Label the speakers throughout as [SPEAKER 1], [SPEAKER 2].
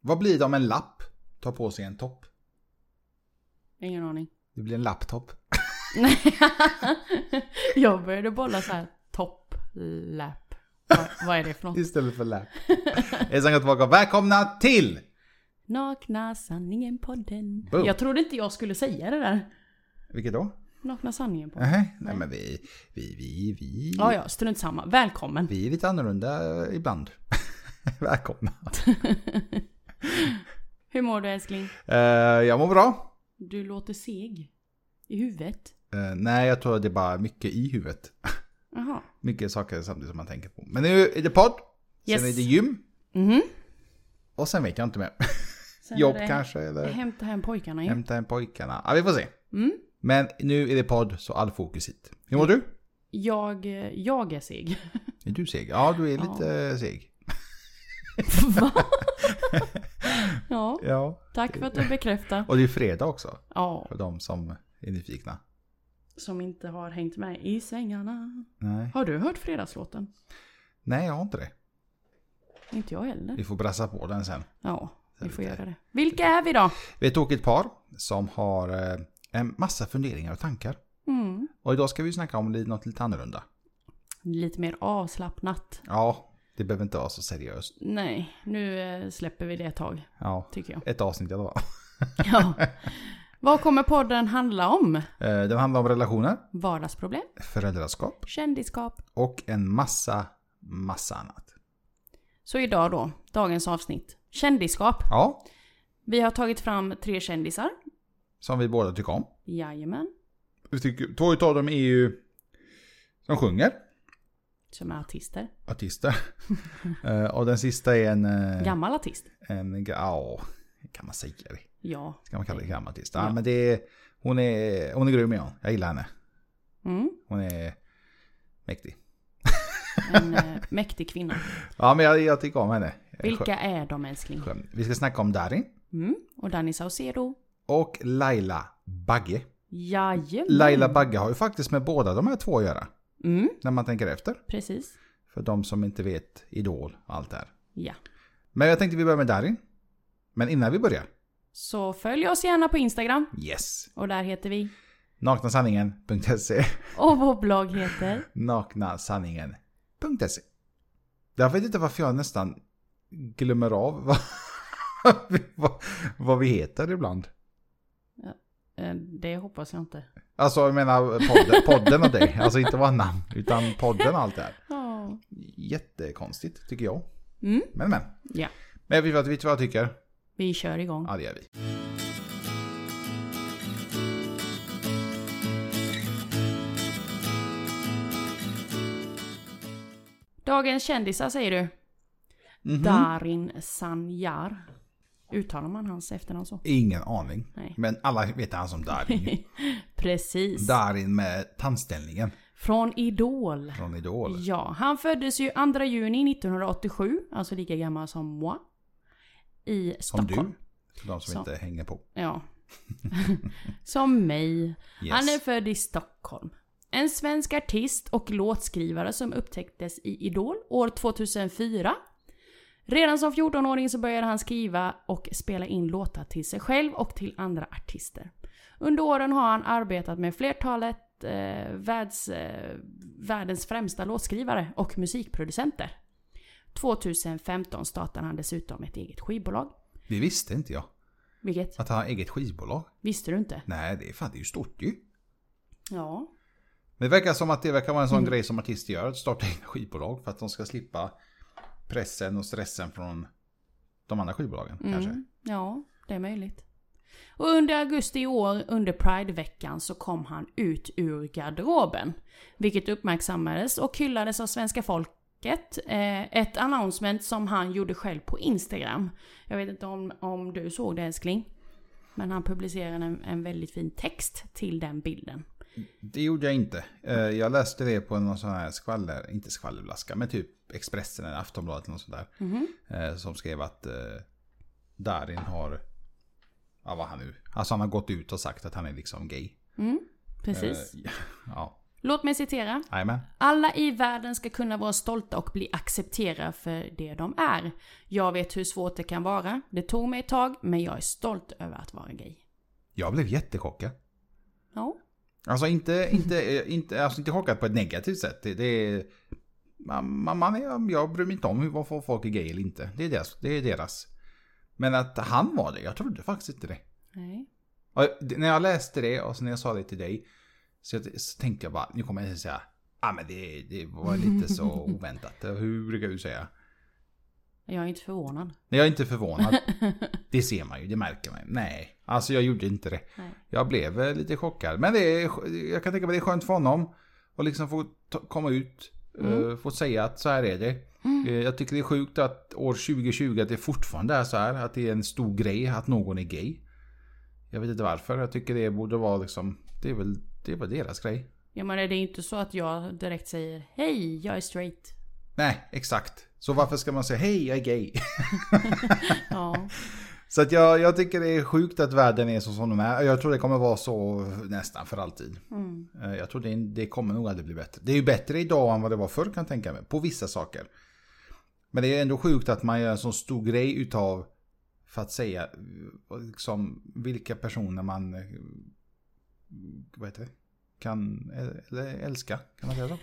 [SPEAKER 1] Vad blir det om en lapp tar på sig en topp?
[SPEAKER 2] Ingen aning.
[SPEAKER 1] Det blir en lapptopp.
[SPEAKER 2] Nej. jag började bolla så här topp, lap. Vad, vad är det för något?
[SPEAKER 1] Istället för lapp. Hejsan och tillbaka. Välkomna till!
[SPEAKER 2] Nakna sanningen podden.
[SPEAKER 1] Boom.
[SPEAKER 2] Jag trodde inte jag skulle säga det där.
[SPEAKER 1] Vilket då?
[SPEAKER 2] Nakna sanningen podden.
[SPEAKER 1] Nähä, Nej men vi, vi, vi, vi.
[SPEAKER 2] Ja, ja, strunt samma. Välkommen.
[SPEAKER 1] Vi är lite annorlunda eh, ibland. Välkomna.
[SPEAKER 2] Hur mår du älskling?
[SPEAKER 1] Eh, jag mår bra.
[SPEAKER 2] Du låter seg. I huvudet.
[SPEAKER 1] Eh, nej, jag tror det är bara mycket i huvudet.
[SPEAKER 2] Jaha.
[SPEAKER 1] Mycket saker samtidigt som man tänker på. Men nu är det podd.
[SPEAKER 2] Yes.
[SPEAKER 1] Sen är det gym.
[SPEAKER 2] Mhm.
[SPEAKER 1] Och sen vet jag inte mer.
[SPEAKER 2] Sen är
[SPEAKER 1] Mm. Jobb
[SPEAKER 2] det-
[SPEAKER 1] kanske eller
[SPEAKER 2] Hämta hem pojkarna ju.
[SPEAKER 1] hämta hem pojkarna. Ja, vi får se.
[SPEAKER 2] Mm.
[SPEAKER 1] Men nu är det podd så all fokus hit. Hur mår du?
[SPEAKER 2] Jag, eh, jag är seg.
[SPEAKER 1] Är du seg? Ja, du är lite eh, seg.
[SPEAKER 2] Va? ja,
[SPEAKER 1] Ja.
[SPEAKER 2] tack för att du bekräftar.
[SPEAKER 1] Och det är fredag också.
[SPEAKER 2] Ja,
[SPEAKER 1] För de som är nyfikna.
[SPEAKER 2] som inte har hängt med i svängarna.
[SPEAKER 1] Nej.
[SPEAKER 2] Har du hört fredagslåten?
[SPEAKER 1] Nej, jag har inte det.
[SPEAKER 2] Inte jag heller.
[SPEAKER 1] Vi får brassa på den sen.
[SPEAKER 2] Ja, vi får göra det. Vilka är vi då?
[SPEAKER 1] Vi är ett tokigt par som har eh, en massa funderingar och tankar.
[SPEAKER 2] Mm.
[SPEAKER 1] Och idag ska vi snacka om li- något lite annorlunda.
[SPEAKER 2] Lite mer avslappnat.
[SPEAKER 1] Ja, det behöver inte vara så seriöst.
[SPEAKER 2] Nej, nu eh, släpper vi det ett tag,
[SPEAKER 1] Ja,
[SPEAKER 2] tycker jag.
[SPEAKER 1] ett avsnitt i alla fall.
[SPEAKER 2] Ja. Vad kommer podden handla om?
[SPEAKER 1] Eh, Den handlar om relationer,
[SPEAKER 2] Vardagsproblem,
[SPEAKER 1] föräldraskap
[SPEAKER 2] kändisskap.
[SPEAKER 1] och en massa, massa annat.
[SPEAKER 2] Så idag då, dagens avsnitt. Kändisskap.
[SPEAKER 1] Ja,
[SPEAKER 2] Vi har tagit fram tre kändisar.
[SPEAKER 1] som vi båda tycker om.
[SPEAKER 2] Jajamän.
[SPEAKER 1] Vi tycker, två utav dem är ju... De sjunger,
[SPEAKER 2] Som är artister.
[SPEAKER 1] artister. Eh, och den sista är en... eh,
[SPEAKER 2] Gammal artist.
[SPEAKER 1] en ja, kan man säga det?
[SPEAKER 2] Ja.
[SPEAKER 1] Ska man kalla det gammal artist? Ja,
[SPEAKER 2] Ja.
[SPEAKER 1] men det är, hon, är, hon är grym ja. Jag gillar henne.
[SPEAKER 2] Mm.
[SPEAKER 1] Hon är mäktig.
[SPEAKER 2] En eh, mäktig kvinna.
[SPEAKER 1] Ja, men jag, jag tycker om henne.
[SPEAKER 2] Vilka är de älskling?
[SPEAKER 1] Skön. Vi ska snacka om Darin
[SPEAKER 2] Mm. Och Danny Saucedo.
[SPEAKER 1] och Laila Bagge.
[SPEAKER 2] Jajamän.
[SPEAKER 1] Laila Bagge har ju faktiskt med båda de här två att göra.
[SPEAKER 2] Mm,
[SPEAKER 1] När man tänker efter.
[SPEAKER 2] precis.
[SPEAKER 1] För de som inte vet Idol och allt det här.
[SPEAKER 2] Ja.
[SPEAKER 1] Men jag tänkte vi börjar med Darin. Men innan vi börjar.
[SPEAKER 2] Så följ oss gärna på Instagram.
[SPEAKER 1] Yes!
[SPEAKER 2] Och där heter vi.
[SPEAKER 1] Naknasanningen.se
[SPEAKER 2] Och vår blogg heter.
[SPEAKER 1] naknasanningen.se. Jag vet inte varför jag nästan glömmer av vad, vad, vad vi heter ibland.
[SPEAKER 2] Eh, Det hoppas jag inte.
[SPEAKER 1] Alltså jag menar podden, podden och det. Alltså inte våra namn utan podden och allt det här.
[SPEAKER 2] Ja.
[SPEAKER 1] Jättekonstigt tycker jag.
[SPEAKER 2] Mm.
[SPEAKER 1] Men men.
[SPEAKER 2] Ja.
[SPEAKER 1] Men vi vet vad jag tycker.
[SPEAKER 2] Vi kör igång.
[SPEAKER 1] Ja det gör vi.
[SPEAKER 2] Dagens kändisar säger du.
[SPEAKER 1] Mhm.
[SPEAKER 2] Darin Sanjar. Uttalar man hans efternamn så?
[SPEAKER 1] Ingen aning.
[SPEAKER 2] Nej.
[SPEAKER 1] Men alla vet han som Darin.
[SPEAKER 2] Precis.
[SPEAKER 1] Darin med tandställningen
[SPEAKER 2] Från Idol.
[SPEAKER 1] från Idol.
[SPEAKER 2] Ja, han föddes ju 2 juni 1987, alltså lika gammal som moi. I
[SPEAKER 1] Som
[SPEAKER 2] Stockholm.
[SPEAKER 1] du. För de som
[SPEAKER 2] Så.
[SPEAKER 1] inte hänger på.
[SPEAKER 2] Ja. som mig.
[SPEAKER 1] Yes.
[SPEAKER 2] Han är född i Stockholm. En svensk artist och låtskrivare som upptäcktes i Idol år 2004. Redan som 14-åring så började han skriva och spela in låtar till sig själv och till andra artister. Under åren har han arbetat med flertalet eh, världs, eh, världens främsta låtskrivare och musikproducenter. 2015 startade han dessutom ett eget skivbolag.
[SPEAKER 1] Det visste inte jag.
[SPEAKER 2] Vilket?
[SPEAKER 1] Att han har eget skivbolag.
[SPEAKER 2] Visste du inte?
[SPEAKER 1] Nej, det är fan det är ju stort ju.
[SPEAKER 2] Ja.
[SPEAKER 1] Men det verkar som att det verkar vara en sån grej som artister gör. Att starta egna skivbolag för att de ska slippa pressen och stressen från de andra skivbolagen kanske.
[SPEAKER 2] Ja, det är möjligt. Och under augusti i år, under Prideveckan, så kom han ut ur garderoben. Vilket uppmärksammades och hyllades av svenska folket. Eh, ett announcement som han gjorde själv på Instagram. Jag vet inte om, om du såg det älskling. Men han publicerade en, en väldigt fin text till den bilden.
[SPEAKER 1] Det gjorde jag inte. Eh, Jag läste det på någon sån här skvaller, inte skvallerblaska, men typ Expressen eller Aftonbladet eller något sånt där. Eh, Som skrev att eh, Darin har, ja vad han nu, alltså han har gått ut och sagt att han är liksom gay.
[SPEAKER 2] Precis.
[SPEAKER 1] Eh, Ja.
[SPEAKER 2] Låt mig citera.
[SPEAKER 1] Jajamän.
[SPEAKER 2] Alla i världen ska kunna vara stolta och bli accepterade för det de är. Jag vet hur svårt det kan vara. Det tog mig ett tag, men jag är stolt över att vara gay.
[SPEAKER 1] Jag blev jättechockad.
[SPEAKER 2] Ja.
[SPEAKER 1] Alltså inte, inte, inte, alltså inte chockad på ett negativt sätt. Det, det är... Man, man, man är, jag bryr mig inte om hur- varför folk är gay eller inte. Det är, deras, det är deras. Men att han var det, jag trodde faktiskt inte det.
[SPEAKER 2] Nej.
[SPEAKER 1] Och det- när jag läste det och så när jag sa det till dig. Så, jag, så tänkte jag bara, nu kommer jag säga. Ja ah, men det, det var lite så oväntat. Hur brukar du säga?
[SPEAKER 2] Jag är inte förvånad.
[SPEAKER 1] Nej, jag är inte förvånad. Det ser man ju, det märker man. Nej, alltså jag gjorde inte det.
[SPEAKER 2] Nej.
[SPEAKER 1] Jag blev eh, lite chockad. Men det är, jag kan tänka mig det är skönt för honom. Och liksom få ta, komma ut. eh, Få säga att så här är det. Eh, Jag tycker det är sjukt att år 2020 att det fortfarande är så här. Att det är en stor grej att någon är gay. Jag vet inte varför. Jag tycker det borde vara liksom. Det är väl, det är väl deras grej.
[SPEAKER 2] Jag menar, det är inte så att jag direkt säger Hej, jag är straight.
[SPEAKER 1] Nej, exakt. Så varför ska man säga hej jag är gay?
[SPEAKER 2] Ja.
[SPEAKER 1] Så att jag, jag tycker det är sjukt att världen är så som den är. Jag tror det kommer vara så nästan för alltid. Eh, Jag tror det, det kommer nog aldrig bli bättre. Det är ju bättre idag än vad det var förr kan jag tänka mig. På vissa saker. Men det är ändå sjukt att man gör en sån stor grej utav för att säga eh, liksom, vilka personer man eh, vad heter det? kan eller älska. Kan man säga så?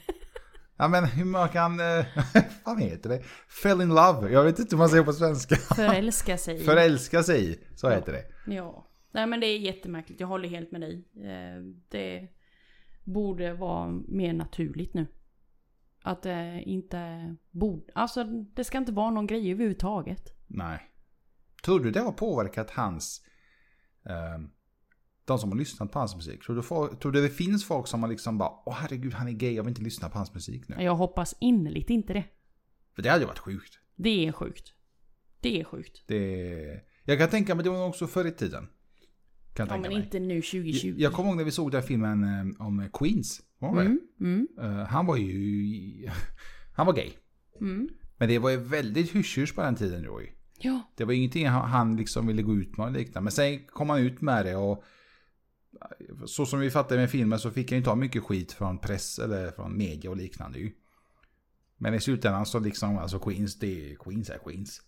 [SPEAKER 1] Ja men hur man kan, eh, vad fan heter det? Fell in love. Jag vet inte hur man säger på svenska.
[SPEAKER 2] Förälska sig.
[SPEAKER 1] Förälska sig i, så heter det.
[SPEAKER 2] Ja. Nej men det är jättemärkligt. Jag håller helt med dig. Eh, Det borde vara mer naturligt nu. Att det inte borde... Alltså det ska inte vara någon grej överhuvudtaget.
[SPEAKER 1] Nej. Tror du det har påverkat hans... ehm, de som har lyssnat på hans musik? Tror du, folk, tror du det finns folk som har liksom bara Åh herregud han är gay, jag vill inte lyssna på hans musik nu.
[SPEAKER 2] Jag hoppas innerligt inte det.
[SPEAKER 1] För det hade ju varit sjukt.
[SPEAKER 2] Det är sjukt. Det är sjukt.
[SPEAKER 1] Det, jag kan tänka mig det var nog också förr i tiden. Kan jag
[SPEAKER 2] Ja
[SPEAKER 1] tänka
[SPEAKER 2] men
[SPEAKER 1] mig.
[SPEAKER 2] inte nu 2020.
[SPEAKER 1] Jag kommer ihåg när vi såg den här filmen eh, om Queens. Var det?
[SPEAKER 2] Mm, mm,
[SPEAKER 1] Eh, han var ju... han var gay.
[SPEAKER 2] mm.
[SPEAKER 1] Men det var ju väldigt hysch på den tiden Roy.
[SPEAKER 2] Ja.
[SPEAKER 1] Det var ingenting han- han liksom ville gå ut med och liknande. Men sen kom han ut med det och så som vi fattade med filmen så fick han ju ta mycket skit från press eller från media och liknande ju. Men i slutändan så liksom, alltså Queens, det är Queens är Queens.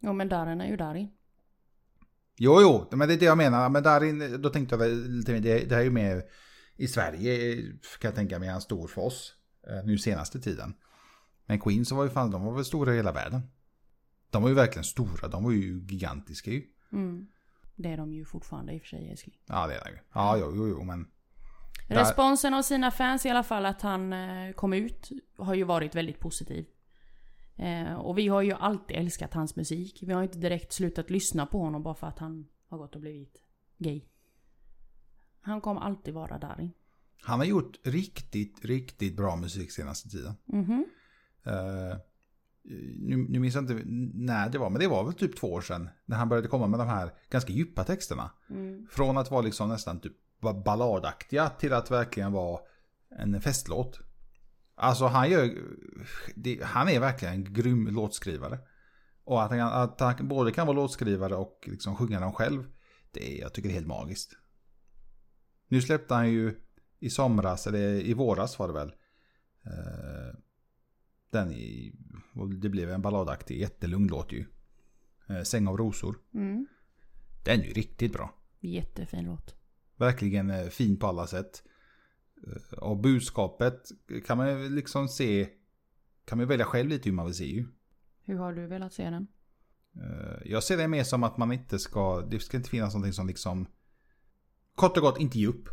[SPEAKER 2] Ja men Darin är ju Darin.
[SPEAKER 1] Jo, jo, men det är det jag menar. Men där då tänkte jag väl lite mer, det, det här är ju mer i Sverige kan jag tänka mig, han stor för oss eh, nu senaste tiden. Men Queens var ju fan, de var väl stora i hela världen. De var ju verkligen stora, de var ju gigantiska ju.
[SPEAKER 2] Mm. Det är de ju fortfarande i och för sig älskling.
[SPEAKER 1] Ja, det är det ju. Ja, jo, jo, jo, men Där-
[SPEAKER 2] Responsen av sina fans i alla fall att han eh, kom ut har ju varit väldigt positiv. Eh, Och vi har ju alltid älskat hans musik. Vi har inte direkt slutat lyssna på honom bara för att han har gått och blivit gay. Han kommer alltid vara Darin.
[SPEAKER 1] han har gjort riktigt, riktigt bra musik senaste tiden.
[SPEAKER 2] Mhm.
[SPEAKER 1] Eh, nu, nu minns jag inte när det var, men det var väl typ två år sedan. När han började komma med de här ganska djupa texterna.
[SPEAKER 2] Mm,
[SPEAKER 1] Från att vara liksom nästan typ ba- balladaktiga till att verkligen vara en festlåt. Alltså han gör, det, han är verkligen en grym låtskrivare. Och att han, att han både kan vara låtskrivare och liksom sjunga dem själv. Det, är- jag tycker det är helt magiskt. Nu släppte han ju i somras, eller i våras var det väl. eh, den i, och det blev en balladaktig jättelugn låt ju. Eh, Säng av rosor.
[SPEAKER 2] Mm.
[SPEAKER 1] Den är ju riktigt bra.
[SPEAKER 2] Jättefin låt.
[SPEAKER 1] Verkligen eh, fin på alla sätt. Eh, Och budskapet kan man ju liksom se, kan man ju välja själv lite hur man vill se ju.
[SPEAKER 2] Hur har du velat se den?
[SPEAKER 1] Eh, Jag ser det mer som att man inte ska, det ska inte finnas någonting som liksom, kort och gott inte ge upp.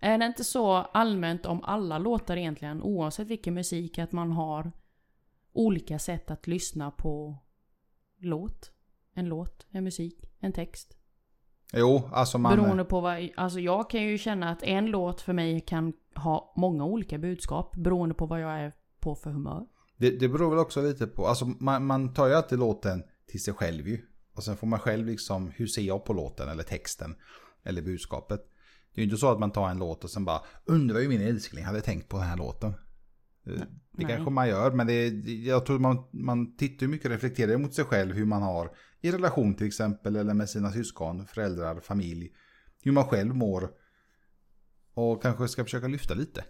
[SPEAKER 2] Är det inte så allmänt om alla låtar egentligen, oavsett vilken musik, att man har olika sätt att lyssna på låt? En låt, en musik, en text.
[SPEAKER 1] Jo, alltså man...
[SPEAKER 2] Beroende på vad, alltså jag kan ju känna att en låt för mig kan ha många olika budskap beroende på vad jag är på för humör.
[SPEAKER 1] Det, det beror väl också lite på, alltså man, man tar ju alltid låten till sig själv ju. Och sen får man själv liksom, hur ser jag på låten eller texten eller budskapet. Det är ju inte så att man tar en låt och sen bara, undrar hur min älskling hade tänkt på den här låten. Det, det
[SPEAKER 2] nej.
[SPEAKER 1] kanske man gör, men det, det- jag tror man, man tittar ju mycket och reflekterar mot sig själv hur man har i relation till exempel eller med sina syskon, föräldrar, familj. Hur man själv mår Och kanske ska försöka lyfta lite.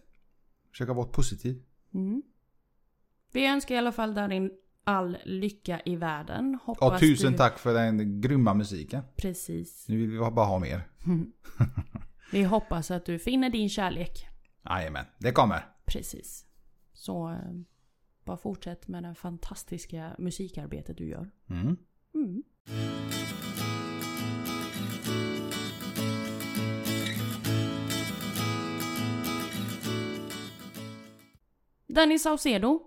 [SPEAKER 1] Försöka vara positiv.
[SPEAKER 2] Mm. Vi önskar i alla fall Darin all lycka i världen.
[SPEAKER 1] Och
[SPEAKER 2] Hoppas
[SPEAKER 1] tusen
[SPEAKER 2] du...
[SPEAKER 1] tack för den grymma musiken.
[SPEAKER 2] Precis.
[SPEAKER 1] Nu vill vi bara ha mer.
[SPEAKER 2] Vi hoppas att du finner din kärlek.
[SPEAKER 1] Jajamän, det kommer.
[SPEAKER 2] Precis. Så eh, bara fortsätt med det fantastiska musikarbetet du gör.
[SPEAKER 1] Mm.
[SPEAKER 2] Mm. Danny Saucedo.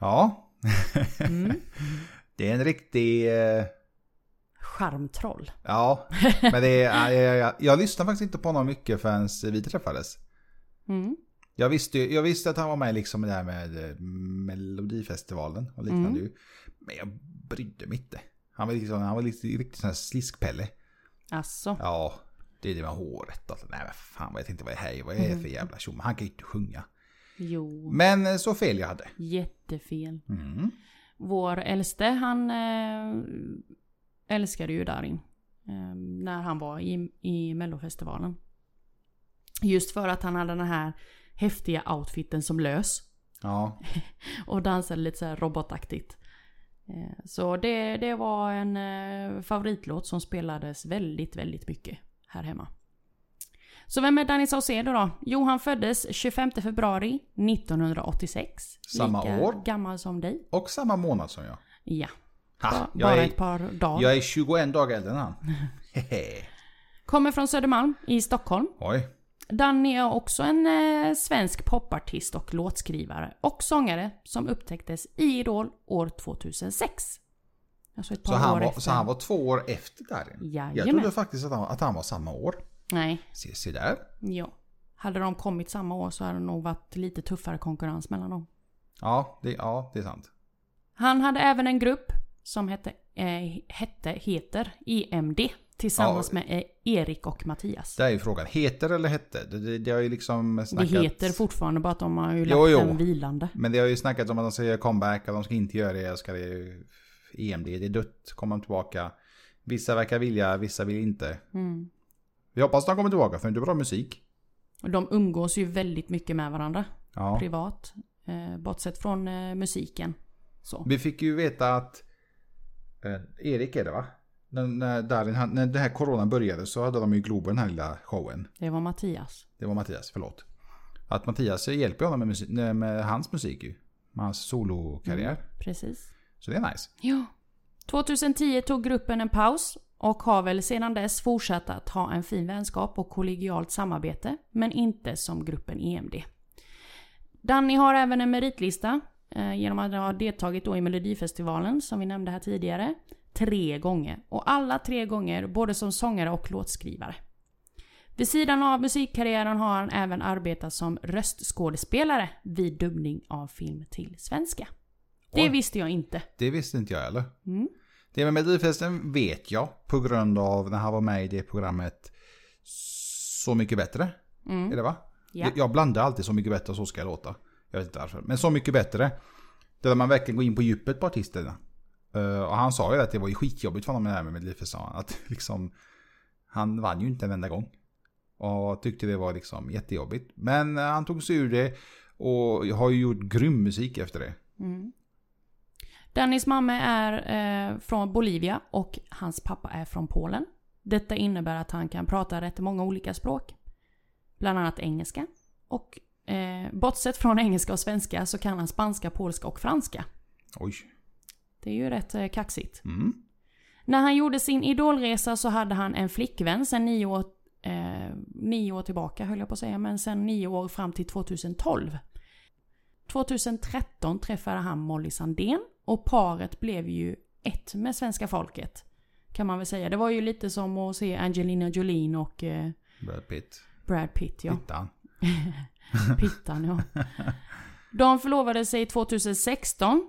[SPEAKER 1] Ja,
[SPEAKER 2] Mm.
[SPEAKER 1] det är en riktig... eh,
[SPEAKER 2] Charmtroll.
[SPEAKER 1] Ja, men det är... Jag, jag, jag, jag lyssnade faktiskt inte på honom mycket förrän vi träffades.
[SPEAKER 2] Mm.
[SPEAKER 1] Jag visste, ju- jag visste att han var med liksom i det här med eh, Melodifestivalen och
[SPEAKER 2] Mm.
[SPEAKER 1] liknande ju. Men jag brydde mig inte. Han var, liksom, han var lite, riktigt sån här sliskpelle.
[SPEAKER 2] Alltså.
[SPEAKER 1] Ja, det är det med håret. Alltså, nej men fan vad jag tänkte, vad är det här? Vad är
[SPEAKER 2] Mm.
[SPEAKER 1] det för jävla tjomme? Han kan ju inte sjunga.
[SPEAKER 2] Jo.
[SPEAKER 1] Men eh, så fel jag hade.
[SPEAKER 2] Jättefel.
[SPEAKER 1] Mm.
[SPEAKER 2] Vår äldste han eh, älskade ju Darin. Eh, när han var i, i mellofestivalen. Just för att han hade den här häftiga outfiten som lös.
[SPEAKER 1] Ja,
[SPEAKER 2] Och dansade lite så här robotaktigt. Eh, Så det, det var en eh, favoritlåt som spelades väldigt, väldigt mycket här hemma. Så vem är Danny Saucedo då? Jo, han föddes 25 februari 1986.
[SPEAKER 1] Samma
[SPEAKER 2] lika
[SPEAKER 1] år.
[SPEAKER 2] gammal som dig.
[SPEAKER 1] och samma månad som jag.
[SPEAKER 2] Ja,
[SPEAKER 1] Ha,
[SPEAKER 2] ba-
[SPEAKER 1] Ah, jag,
[SPEAKER 2] bara
[SPEAKER 1] är,
[SPEAKER 2] ett par dagar.
[SPEAKER 1] jag är 21 dagar äldre än han. Hehe.
[SPEAKER 2] Kommer från Södermalm i Stockholm.
[SPEAKER 1] Oj.
[SPEAKER 2] Danny är också en eh, svensk popartist och låtskrivare och sångare som upptäcktes i Idol år 2006. Alltså ett par
[SPEAKER 1] Så han,
[SPEAKER 2] år
[SPEAKER 1] var,
[SPEAKER 2] efter.
[SPEAKER 1] så han var två år efter Darin? Jag
[SPEAKER 2] Jajamän.
[SPEAKER 1] trodde faktiskt att han, att han var samma år.
[SPEAKER 2] Nej,
[SPEAKER 1] Se, se där.
[SPEAKER 2] ja. Hade de kommit samma år så hade det nog varit lite tuffare konkurrens mellan dem.
[SPEAKER 1] Ja det, ja, det är sant.
[SPEAKER 2] Han hade även en grupp som hette, eh, hette heter EMD tillsammans
[SPEAKER 1] Ja.
[SPEAKER 2] med eh, Erik och Mattias.
[SPEAKER 1] Det är ju frågan. Heter eller hette? Det, det, det har ju liksom
[SPEAKER 2] Det
[SPEAKER 1] snackats...
[SPEAKER 2] heter fortfarande bara att de har ju lagt
[SPEAKER 1] Jo, jo.
[SPEAKER 2] den vilande.
[SPEAKER 1] Men det har ju snackats om att de ska göra comeback, att de ska inte göra det, ska det EMD, det är dött, kommer de tillbaka. Vissa verkar vilja, vissa vill inte.
[SPEAKER 2] Mm.
[SPEAKER 1] Vi hoppas de kommer tillbaka för det är bra musik.
[SPEAKER 2] Och de umgås ju väldigt mycket med varandra.
[SPEAKER 1] Ja.
[SPEAKER 2] privat. Eh, bortsett från eh, musiken. Så.
[SPEAKER 1] Vi fick ju veta att eh, Erik är det va? När, när, Darin, han- när den här coronan började så hade de ju Globen, den här lilla showen.
[SPEAKER 2] Det var Mattias.
[SPEAKER 1] Det var Mattias, förlåt. Att Mattias hjälper honom med, musik, nej, med hans musik ju. Med hans solokarriär.
[SPEAKER 2] Mm. Precis.
[SPEAKER 1] Så det är nice.
[SPEAKER 2] Ja. 2010 tog gruppen en paus och har väl sedan dess fortsatt att ha en fin vänskap och kollegialt samarbete, men inte som gruppen EMD. Danny har även en meritlista eh, genom att ha deltagit då i Melodifestivalen, som vi nämnde här tidigare, tre gånger. Och alla tre gånger både som sångare och låtskrivare. Vid sidan av musikkarriären har han även arbetat som röstskådespelare vid dubbning av film till svenska. Det
[SPEAKER 1] Oj.
[SPEAKER 2] visste jag inte.
[SPEAKER 1] Det visste inte jag heller.
[SPEAKER 2] Mm.
[SPEAKER 1] Det med Melodifesten vet jag på grund av när han var med i det programmet Så mycket bättre.
[SPEAKER 2] Mm.
[SPEAKER 1] Är det va?
[SPEAKER 2] Ja.
[SPEAKER 1] Jag blandar alltid Så mycket bättre och Så ska jag låta. Jag vet inte varför. Men Så mycket bättre. Där man verkligen går in på djupet på artisterna. Eh, och han sa ju att det var ju skitjobbigt för honom det här med Melodifesten. sa han. Att liksom, han vann ju inte en enda gång. Och tyckte det var liksom jättejobbigt. Men eh, han tog sig ur det och har ju gjort grym musik efter det.
[SPEAKER 2] Mm. Dennis mamma är eh, från Bolivia och hans pappa är från Polen. Detta innebär att han kan prata rätt många olika språk. Bland annat engelska. Och eh, bortsett från engelska och svenska så kan han spanska, polska och franska.
[SPEAKER 1] Oj.
[SPEAKER 2] Det är ju rätt eh, kaxigt.
[SPEAKER 1] Mm.
[SPEAKER 2] När han gjorde sin idolresa så hade han en flickvän sen nio år, eh, nio år tillbaka höll jag på att säga, men sen nio år fram till 2012. 2013 träffade han Molly Sandén och paret blev ju ett med svenska folket. Kan man väl säga. Det var ju lite som att se Angelina Jolin och eh,
[SPEAKER 1] Brad Pitt.
[SPEAKER 2] Brad Pitt. Ja.
[SPEAKER 1] Pittan.
[SPEAKER 2] Pittan ja. De förlovade sig 2016.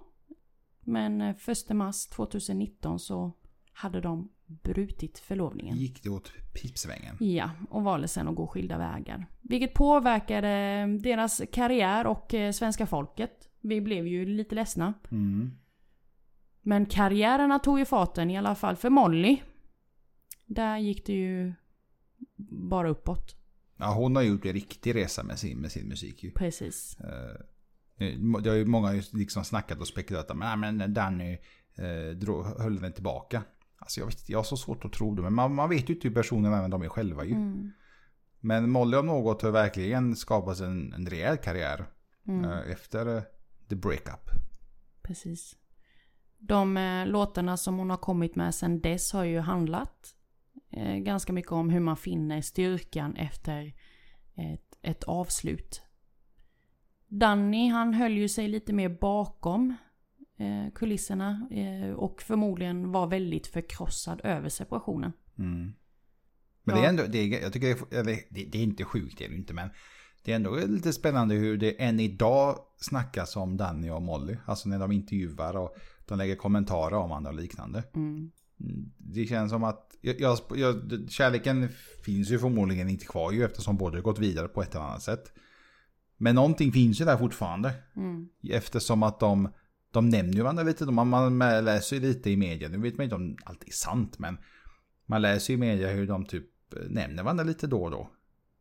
[SPEAKER 2] Men eh, 1 mars 2019 så hade de brutit förlovningen.
[SPEAKER 1] Gick det åt pipsvängen?
[SPEAKER 2] Ja, och valde sen att gå skilda vägar. Vilket påverkade eh, deras karriär och eh, svenska folket. Vi blev ju lite ledsna.
[SPEAKER 1] Mm.
[SPEAKER 2] Men karriärerna tog ju farten i alla fall för Molly. Där gick det ju bara uppåt.
[SPEAKER 1] Ja, hon har gjort en riktig resa med sin, med sin musik. Ju.
[SPEAKER 2] Precis.
[SPEAKER 1] Eh, Det har ju många ju liksom snackat och spekulerat om. "Nej, Men Danny eh, drog, höll den tillbaka. Alltså jag, vet, inte, jag har så svårt att tro det. Men man, man vet ju inte hur personerna även de är själva ju.
[SPEAKER 2] Mm.
[SPEAKER 1] Men Molly om något har verkligen skapat en, en rejäl karriär.
[SPEAKER 2] Mm.
[SPEAKER 1] eh, Efter eh, the breakup.
[SPEAKER 2] Precis. De eh, låtarna som hon har kommit med sen dess har ju handlat eh, ganska mycket om hur man finner styrkan efter ett, ett avslut. Danny han höll ju sig lite mer bakom eh, kulisserna eh, och förmodligen var väldigt förkrossad över separationen.
[SPEAKER 1] Mm. Men
[SPEAKER 2] Ja.
[SPEAKER 1] det är ändå, det är, jag tycker det är, eller, det, det är inte sjukt, det är det ju inte, men det är ändå lite spännande hur det än idag snackas om Danny och Molly. Alltså när de intervjuar och de lägger kommentarer om andra och liknande.
[SPEAKER 2] Mm.
[SPEAKER 1] Det känns som att, jag, jag, jag, kärleken finns ju förmodligen inte kvar ju eftersom båda har gått vidare på ett eller annat sätt. Men någonting finns ju där fortfarande.
[SPEAKER 2] Mm.
[SPEAKER 1] Eftersom att de, de nämner ju varandra lite. De, man, man läser ju lite i media. Nu vet man inte om allt är sant men man läser ju i media hur de typ nämner varandra lite då och då.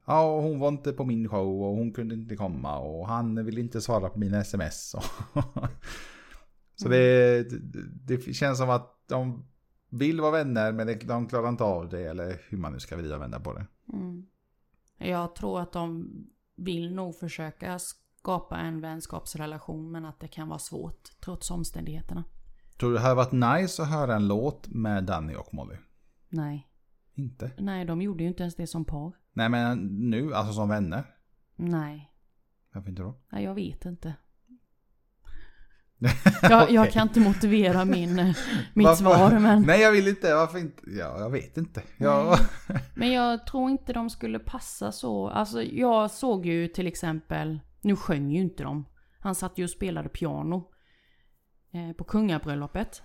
[SPEAKER 1] Ja, och hon var inte på min show och hon kunde inte komma och han ville inte svara på mina sms. Och Så det, det, det känns som att de vill vara vänner men det- de klarar inte av det eller hur man nu ska vrida och vända på det.
[SPEAKER 2] Mm. Jag tror att de vill nog försöka skapa en vänskapsrelation men att det kan vara svårt trots omständigheterna.
[SPEAKER 1] Tror du det hade varit nice att höra en låt med Danny och Molly?
[SPEAKER 2] Nej.
[SPEAKER 1] Inte?
[SPEAKER 2] Nej, de gjorde ju inte ens det som par.
[SPEAKER 1] Nej men nu, alltså som vänner.
[SPEAKER 2] Nej,
[SPEAKER 1] Varför inte då?
[SPEAKER 2] Nej, jag vet inte. Jag, jag
[SPEAKER 1] Okej.
[SPEAKER 2] kan inte motivera min, eh, mitt
[SPEAKER 1] Varför-
[SPEAKER 2] svar men,
[SPEAKER 1] Nej jag vill inte, varför inte? Ja, jag vet inte. Jag...
[SPEAKER 2] men jag tror inte de skulle passa så. Alltså jag såg ju till exempel, nu sjöng ju inte de. Han satt ju och spelade piano eh, på kungabröllopet.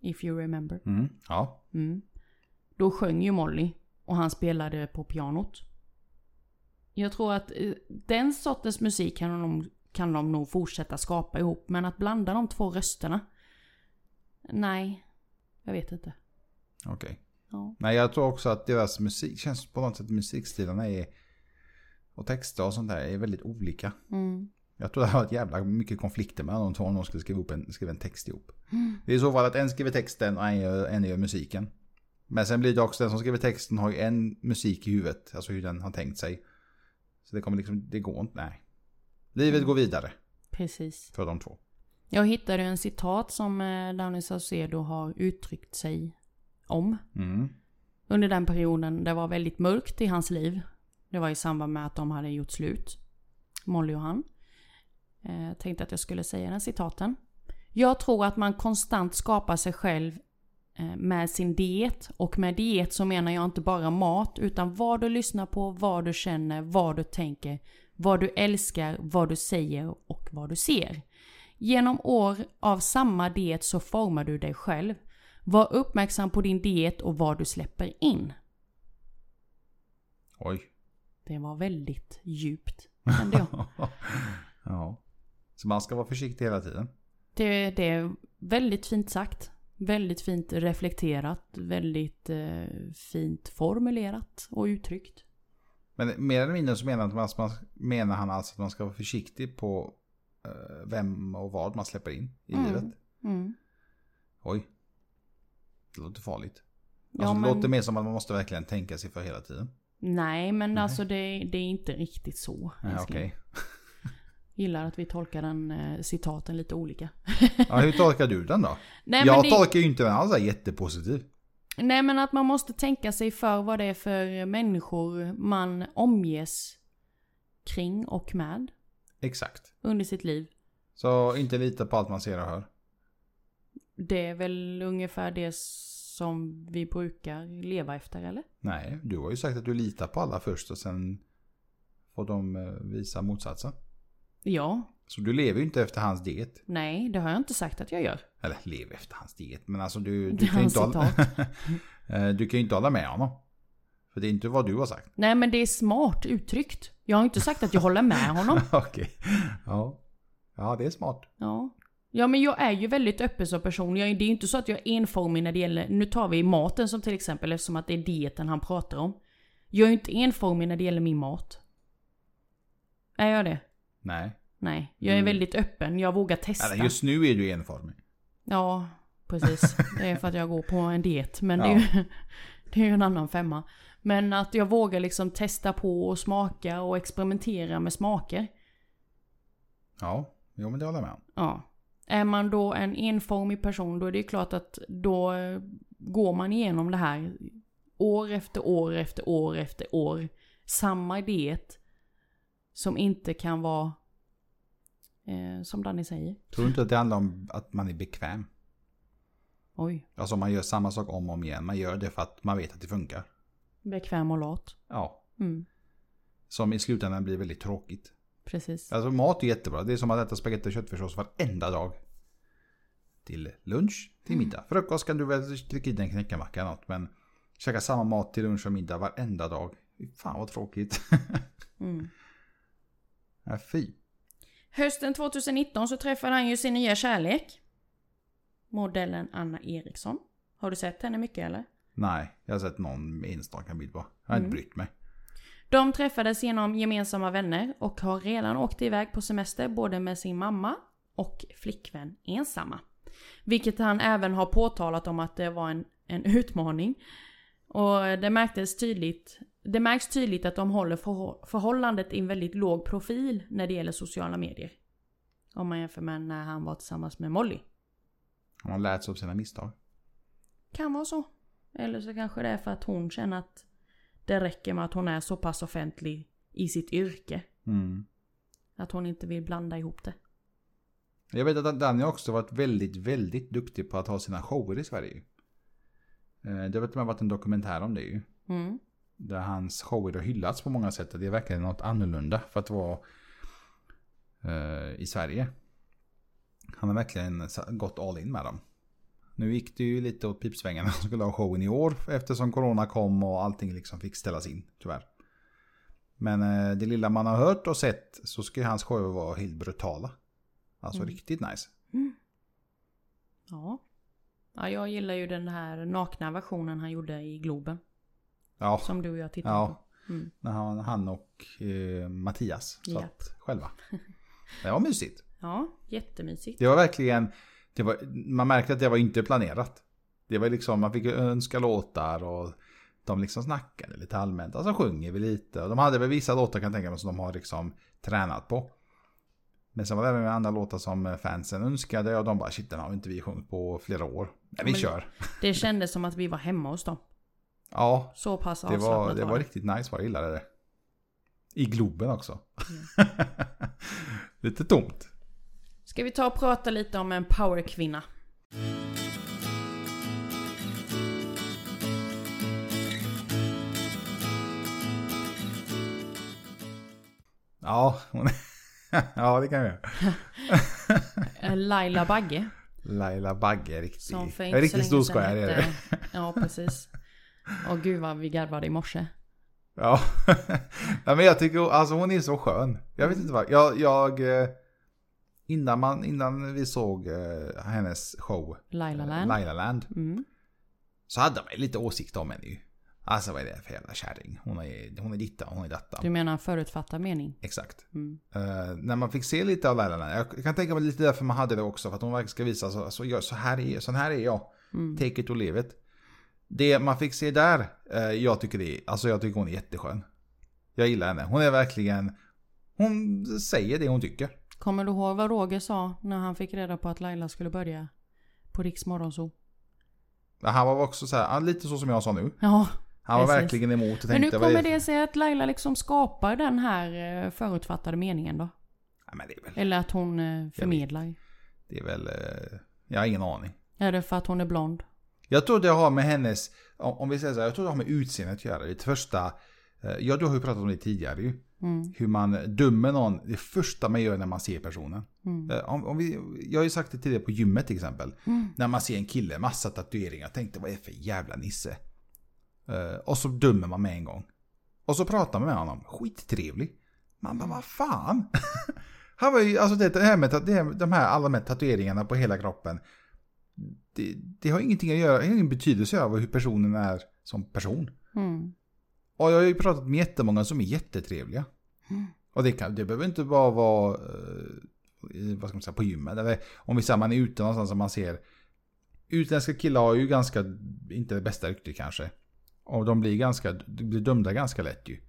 [SPEAKER 2] If you remember.
[SPEAKER 1] Mm, ja.
[SPEAKER 2] Mm. Då sjöng ju Molly och han spelade på pianot. Jag tror att eh, den sortens musik kan de, kan de nog fortsätta skapa ihop. Men att blanda de två rösterna? Nej, jag vet inte.
[SPEAKER 1] Okej.
[SPEAKER 2] Ja.
[SPEAKER 1] Nej jag tror också att deras musik känns på något sätt musikstilarna är och texter och sånt där är väldigt olika.
[SPEAKER 2] Mm.
[SPEAKER 1] Jag tror det har varit jävla mycket konflikter mellan de två om de skulle skriva, upp en, skriva en text ihop. Det är i så fall att en skriver texten och en gör, en gör musiken. Men sen blir det också den som skriver texten har ju en musik i huvudet, alltså hur den har tänkt sig. Så det kommer liksom, det går inte, nej. Livet går vidare
[SPEAKER 2] Precis.
[SPEAKER 1] för de två.
[SPEAKER 2] Jag hittade en citat som eh, Danny Saucedo har uttryckt sig om.
[SPEAKER 1] Mm.
[SPEAKER 2] Under den perioden det var väldigt mörkt i hans liv. Det var i samband med att de hade gjort slut. Molly och han. Eh, tänkte att jag skulle säga den citaten. Jag tror att man konstant skapar sig själv eh, med sin diet. Och med diet så menar jag inte bara mat utan vad du lyssnar på, vad du känner, vad du tänker, vad du älskar, vad du säger och vad du ser. Genom år av samma diet så formar du dig själv. Var uppmärksam på din diet och vad du släpper in.
[SPEAKER 1] Oj.
[SPEAKER 2] Det var väldigt djupt, kände jag.
[SPEAKER 1] ja. Så man ska vara försiktig hela tiden.
[SPEAKER 2] Det, det är väldigt fint sagt. Väldigt fint reflekterat. Väldigt eh, fint formulerat och uttryckt.
[SPEAKER 1] Men mer eller mindre så menar han, att man, menar han alltså att man ska vara försiktig på eh, vem och vad man släpper in i
[SPEAKER 2] Mm.
[SPEAKER 1] livet.
[SPEAKER 2] Mm.
[SPEAKER 1] Oj. Det låter farligt.
[SPEAKER 2] Ja,
[SPEAKER 1] alltså, Det
[SPEAKER 2] men-
[SPEAKER 1] låter mer som att man måste verkligen tänka sig för hela tiden.
[SPEAKER 2] Nej, men alltså det, det är inte riktigt så.
[SPEAKER 1] Ja,
[SPEAKER 2] älskling.
[SPEAKER 1] okej.
[SPEAKER 2] Gillar att vi tolkar den eh, citaten lite olika.
[SPEAKER 1] ja, hur tolkar du den då?
[SPEAKER 2] Nej, men
[SPEAKER 1] jag
[SPEAKER 2] det-
[SPEAKER 1] tolkar ju inte den alls så här jättepositiv.
[SPEAKER 2] Nej men att man måste tänka sig för vad det är för människor man omges kring och med
[SPEAKER 1] Exakt.
[SPEAKER 2] under sitt liv.
[SPEAKER 1] Så inte lita på allt man ser och hör.
[SPEAKER 2] Det är väl ungefär det som vi brukar leva efter eller?
[SPEAKER 1] Nej, du har ju sagt att du litar på alla först och sen får de eh, visa motsatsen.
[SPEAKER 2] Ja,
[SPEAKER 1] Så du lever ju inte efter hans diet.
[SPEAKER 2] nej det har jag inte sagt att jag gör.
[SPEAKER 1] Eller lever efter hans diet, men alltså du,
[SPEAKER 2] Det
[SPEAKER 1] du,
[SPEAKER 2] är
[SPEAKER 1] kan, ju inte
[SPEAKER 2] hans
[SPEAKER 1] hålla, Eh, du kan ju inte hålla med honom. För det är inte vad du har sagt.
[SPEAKER 2] Nej men det är smart uttryckt. Jag har inte sagt att jag håller med honom.
[SPEAKER 1] Okej. Ja. ja, det är smart.
[SPEAKER 2] Ja. Ja men jag är ju väldigt öppen som person. Jag, är- det är ju inte så att jag är enformig när det gäller, nu tar vi maten som till exempel eftersom att det är dieten han pratar om. Jag är ju inte enformig när det gäller min mat. Är jag det?
[SPEAKER 1] Nej.
[SPEAKER 2] Nej. Jag är
[SPEAKER 1] Mm.
[SPEAKER 2] väldigt öppen. Jag vågar testa.
[SPEAKER 1] Eller, just nu är du enformig.
[SPEAKER 2] Ja, precis. Det är för att jag går på en diet. Men det, är ju, det är ju en annan femma. Men att jag vågar liksom testa på och smaka och experimentera med smaker.
[SPEAKER 1] Ja, jo men det håller jag med om.
[SPEAKER 2] Ja. Är man då en enformig person då är det ju klart att då eh, går man igenom det här år efter år efter år efter år. Samma diet som inte kan vara eh, som Danny säger.
[SPEAKER 1] Tror du inte att det handlar om att man är bekväm?
[SPEAKER 2] Oj,
[SPEAKER 1] Alltså man gör samma sak om och om igen. Man gör det för att man vet att det funkar.
[SPEAKER 2] bekväm och lat.
[SPEAKER 1] Ja.
[SPEAKER 2] Mm,
[SPEAKER 1] Som i slutändan blir väldigt tråkigt.
[SPEAKER 2] precis.
[SPEAKER 1] Alltså mat är jättebra. Det är som att äta spagetti och köttfärssås varenda dag. Till lunch, till middag. Frukost kan du väl trycka i dig en knäckemacka eller något. Men käka samma mat till lunch och middag varenda dag. Fy Fan vad tråkigt.
[SPEAKER 2] Mm.
[SPEAKER 1] ja, fy.
[SPEAKER 2] Hösten 2019 så träffade han ju sin nya kärlek. Modellen Anna Eriksson. Har du sett henne mycket eller?
[SPEAKER 1] Nej, jag har sett någon enstaka bild på. Jag har inte brytt mig.
[SPEAKER 2] De träffades genom gemensamma vänner och har redan åkt iväg på semester både med sin mamma och flickvän ensamma. Vilket han även har påtalat om att det var en, en utmaning. Och det märktes tydligt det märks tydligt att de håller förhå- förhållandet i en väldigt låg profil när det gäller sociala medier. Om man jämför med när han var tillsammans med Molly.
[SPEAKER 1] Han har lärt sig av sina misstag.
[SPEAKER 2] Kan vara så. Eller så kanske det är för att hon känner att det räcker med att hon är så pass offentlig i sitt yrke.
[SPEAKER 1] Mm.
[SPEAKER 2] Att hon inte vill blanda ihop det.
[SPEAKER 1] Jag vet att Danny har också varit väldigt, väldigt duktig på att ha sina shower i Sverige. Eh, Det har till och med varit en dokumentär om det ju.
[SPEAKER 2] Mm.
[SPEAKER 1] Där hans shower har hyllats på många sätt. Det är verkligen något annorlunda för att vara eh, i Sverige. Han har verkligen sa- gått all in med dem. Nu gick det ju lite åt pipsvängarna som skulle ha showen i år eftersom corona kom och allting liksom fick ställas in tyvärr. Men eh, det lilla man har hört och sett så ska ju hans shower vara helt brutala. Alltså riktigt nice.
[SPEAKER 2] Mm. Ja. ja. Jag gillar ju den här nakna versionen han gjorde i Globen.
[SPEAKER 1] Ja,
[SPEAKER 2] Som du och jag tittade på.
[SPEAKER 1] ja.
[SPEAKER 2] Mm.
[SPEAKER 1] När han, han och eh, Mattias satt
[SPEAKER 2] Japp.
[SPEAKER 1] själva. Det var mysigt.
[SPEAKER 2] Ja, jättemysigt.
[SPEAKER 1] Det var verkligen, det var, man märkte att det var inte planerat. Det var liksom, man fick önska låtar och de liksom snackade lite allmänt. Alltså sjunger vi lite. Och de hade väl vissa låtar kan jag tänka mig som de har liksom tränat på. Men sen var det även andra låtar som fansen önskade och de bara shit den har inte vi sjungit på flera år. Men vi
[SPEAKER 2] Men-
[SPEAKER 1] kör.
[SPEAKER 2] Det kändes som att vi var hemma hos dem.
[SPEAKER 1] Ja,
[SPEAKER 2] Så pass
[SPEAKER 1] det
[SPEAKER 2] avslappnat
[SPEAKER 1] var, det var riktigt nice vad jag gillade det. I Globen också. Mm. lite tomt.
[SPEAKER 2] Ska vi ta och prata lite om en powerkvinna?
[SPEAKER 1] Ja, hon- ja det kan vi göra.
[SPEAKER 2] Eh, Laila Bagge.
[SPEAKER 1] Laila Bagge är riktigt,
[SPEAKER 2] Som för
[SPEAKER 1] en
[SPEAKER 2] inte så
[SPEAKER 1] riktigt stor
[SPEAKER 2] länge sedan
[SPEAKER 1] skojare. är det.
[SPEAKER 2] hette- Ja, precis. Åh gud vad vi garvade i morse.
[SPEAKER 1] Ja. Nej, men jag tycker alltså hon är så skön. Jag
[SPEAKER 2] Mm.
[SPEAKER 1] vet inte vad. Jag, jag eh, innan, man, innan vi såg eh, hennes show
[SPEAKER 2] Laila
[SPEAKER 1] eh,
[SPEAKER 2] Land.
[SPEAKER 1] Laila Land
[SPEAKER 2] Mm.
[SPEAKER 1] så hade man ju lite åsikt om henne ju. Alltså vad är det för jävla kärring? Hon är, hon är ditta, hon är datta.
[SPEAKER 2] Du menar förutfattad mening?
[SPEAKER 1] Exakt.
[SPEAKER 2] Mm.
[SPEAKER 1] Eh, när man fick se lite av Laila Land. Jag kan tänka mig lite därför man hade det också. För att hon verkligen ska visa så, så, jag, så här är, sån här är jag.
[SPEAKER 2] Mm.
[SPEAKER 1] Take it or leave it. Det man fick se där, eh, jag tycker det är, alltså jag tycker hon är jätteskön. Jag gillar henne. Hon är verkligen, hon säger det hon tycker.
[SPEAKER 2] Kommer du ihåg vad Roger sa när han fick reda på att Laila skulle börja på Riks morgonzoo?
[SPEAKER 1] Han var också så här, ah, lite så som jag sa nu.
[SPEAKER 2] Ja.
[SPEAKER 1] Han var
[SPEAKER 2] Precis.
[SPEAKER 1] verkligen emot och
[SPEAKER 2] Men hur
[SPEAKER 1] tänkte vad är
[SPEAKER 2] kommer
[SPEAKER 1] för-
[SPEAKER 2] det sig att Laila liksom skapar den här eh, förutfattade meningen då?
[SPEAKER 1] Ja, men det är väl,
[SPEAKER 2] Eller att hon eh, förmedlar?
[SPEAKER 1] det är väl eh, jag har ingen aning.
[SPEAKER 2] Är det för att hon är blond?
[SPEAKER 1] Jag tror det har med hennes, om om vi säger så här, jag tror det har med utseendet att göra. Det första, eh, ja du har ju pratat om det tidigare ju.
[SPEAKER 2] Mm.
[SPEAKER 1] Hur man dömer någon, det första man gör när man ser personen.
[SPEAKER 2] Mm.
[SPEAKER 1] Eh, Om, om vi, jag har ju sagt det tidigare på gymmet till exempel.
[SPEAKER 2] Mm.
[SPEAKER 1] När man ser en kille, massa tatueringar, tänkte vad är det för jävla nisse? Eh, och så dömer man med en gång. Och så pratar man med honom, skittrevlig. Man bara, vad fan? Han var ju, alltså det, det här med, ta- det här, de här alla de här tatueringarna på hela kroppen. Det, det har ingenting att göra, det har ingen betydelse över hur personen är som person.
[SPEAKER 2] Mm.
[SPEAKER 1] Och jag har ju pratat med jättemånga som är jättetrevliga. Och det, kan, det behöver inte bara vara eh, i- vad ska man säga, på gymmet. Eller om vi säger man är ute någonstans som man ser. Utländska killar har ju ganska, inte det bästa ryktet kanske. Och de blir, ganska, de blir dömda ganska lätt ju.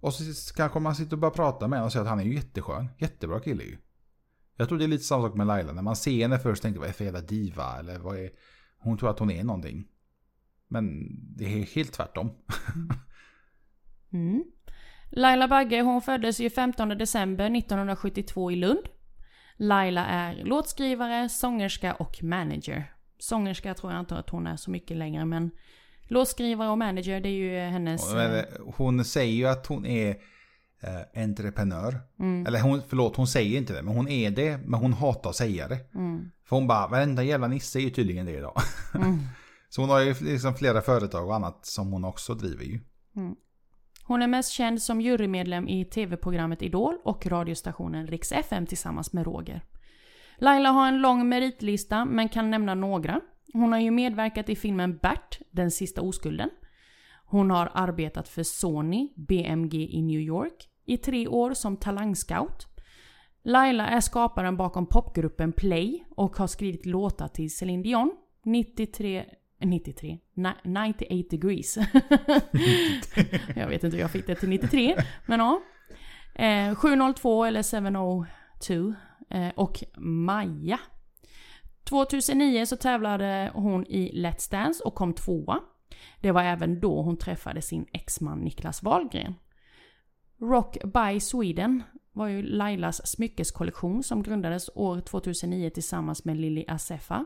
[SPEAKER 1] Och så s- kanske man sitter och bara pratar med honom och säger att han är ju jätteskön. Jättebra kille ju. Jag tror det är lite samma sak med Laila. När man ser henne först tänker man vad är för jävla diva? Eller vad är... Hon tror att hon är någonting. Men det är helt tvärtom.
[SPEAKER 2] Mm. Laila Bagge hon föddes ju 15 december 1972 i Lund. Laila är låtskrivare, sångerska och manager. Sångerska tror jag inte att hon är så mycket längre men låtskrivare och manager det är ju hennes...
[SPEAKER 1] Men, eh, Hon säger ju att hon är eh, entreprenör.
[SPEAKER 2] Mm.
[SPEAKER 1] Eller hon, förlåt, hon säger inte det. Men hon är det, men hon hatar att säga det.
[SPEAKER 2] Mm.
[SPEAKER 1] För hon bara, varenda jävla nisse är ju tydligen det idag. Så hon har ju liksom flera företag och annat som hon också driver ju.
[SPEAKER 2] Hon är mest känd som jurymedlem i tv-programmet Idol och radiostationen Rix FM tillsammans med Roger. Laila har en lång meritlista men kan nämna några. Hon har ju medverkat i filmen Bert, Den sista oskulden. Hon har arbetat för Sony BMG i New York i tre år som talangscout. Laila är skaparen bakom popgruppen Play och har skrivit låtar till Celine Dion, 93... 93? ni- 98 degrees. jag vet inte hur jag fick det till 93, men ja. Eh, 702 eller 702 eh, och Maja. 2009 så tävlade hon i Let's Dance och kom tvåa. Det var även då hon träffade sin exman Niklas Wahlgren. Rock by Sweden var ju Lailas smyckeskollektion som grundades år 2009 tillsammans med Lili Assefa.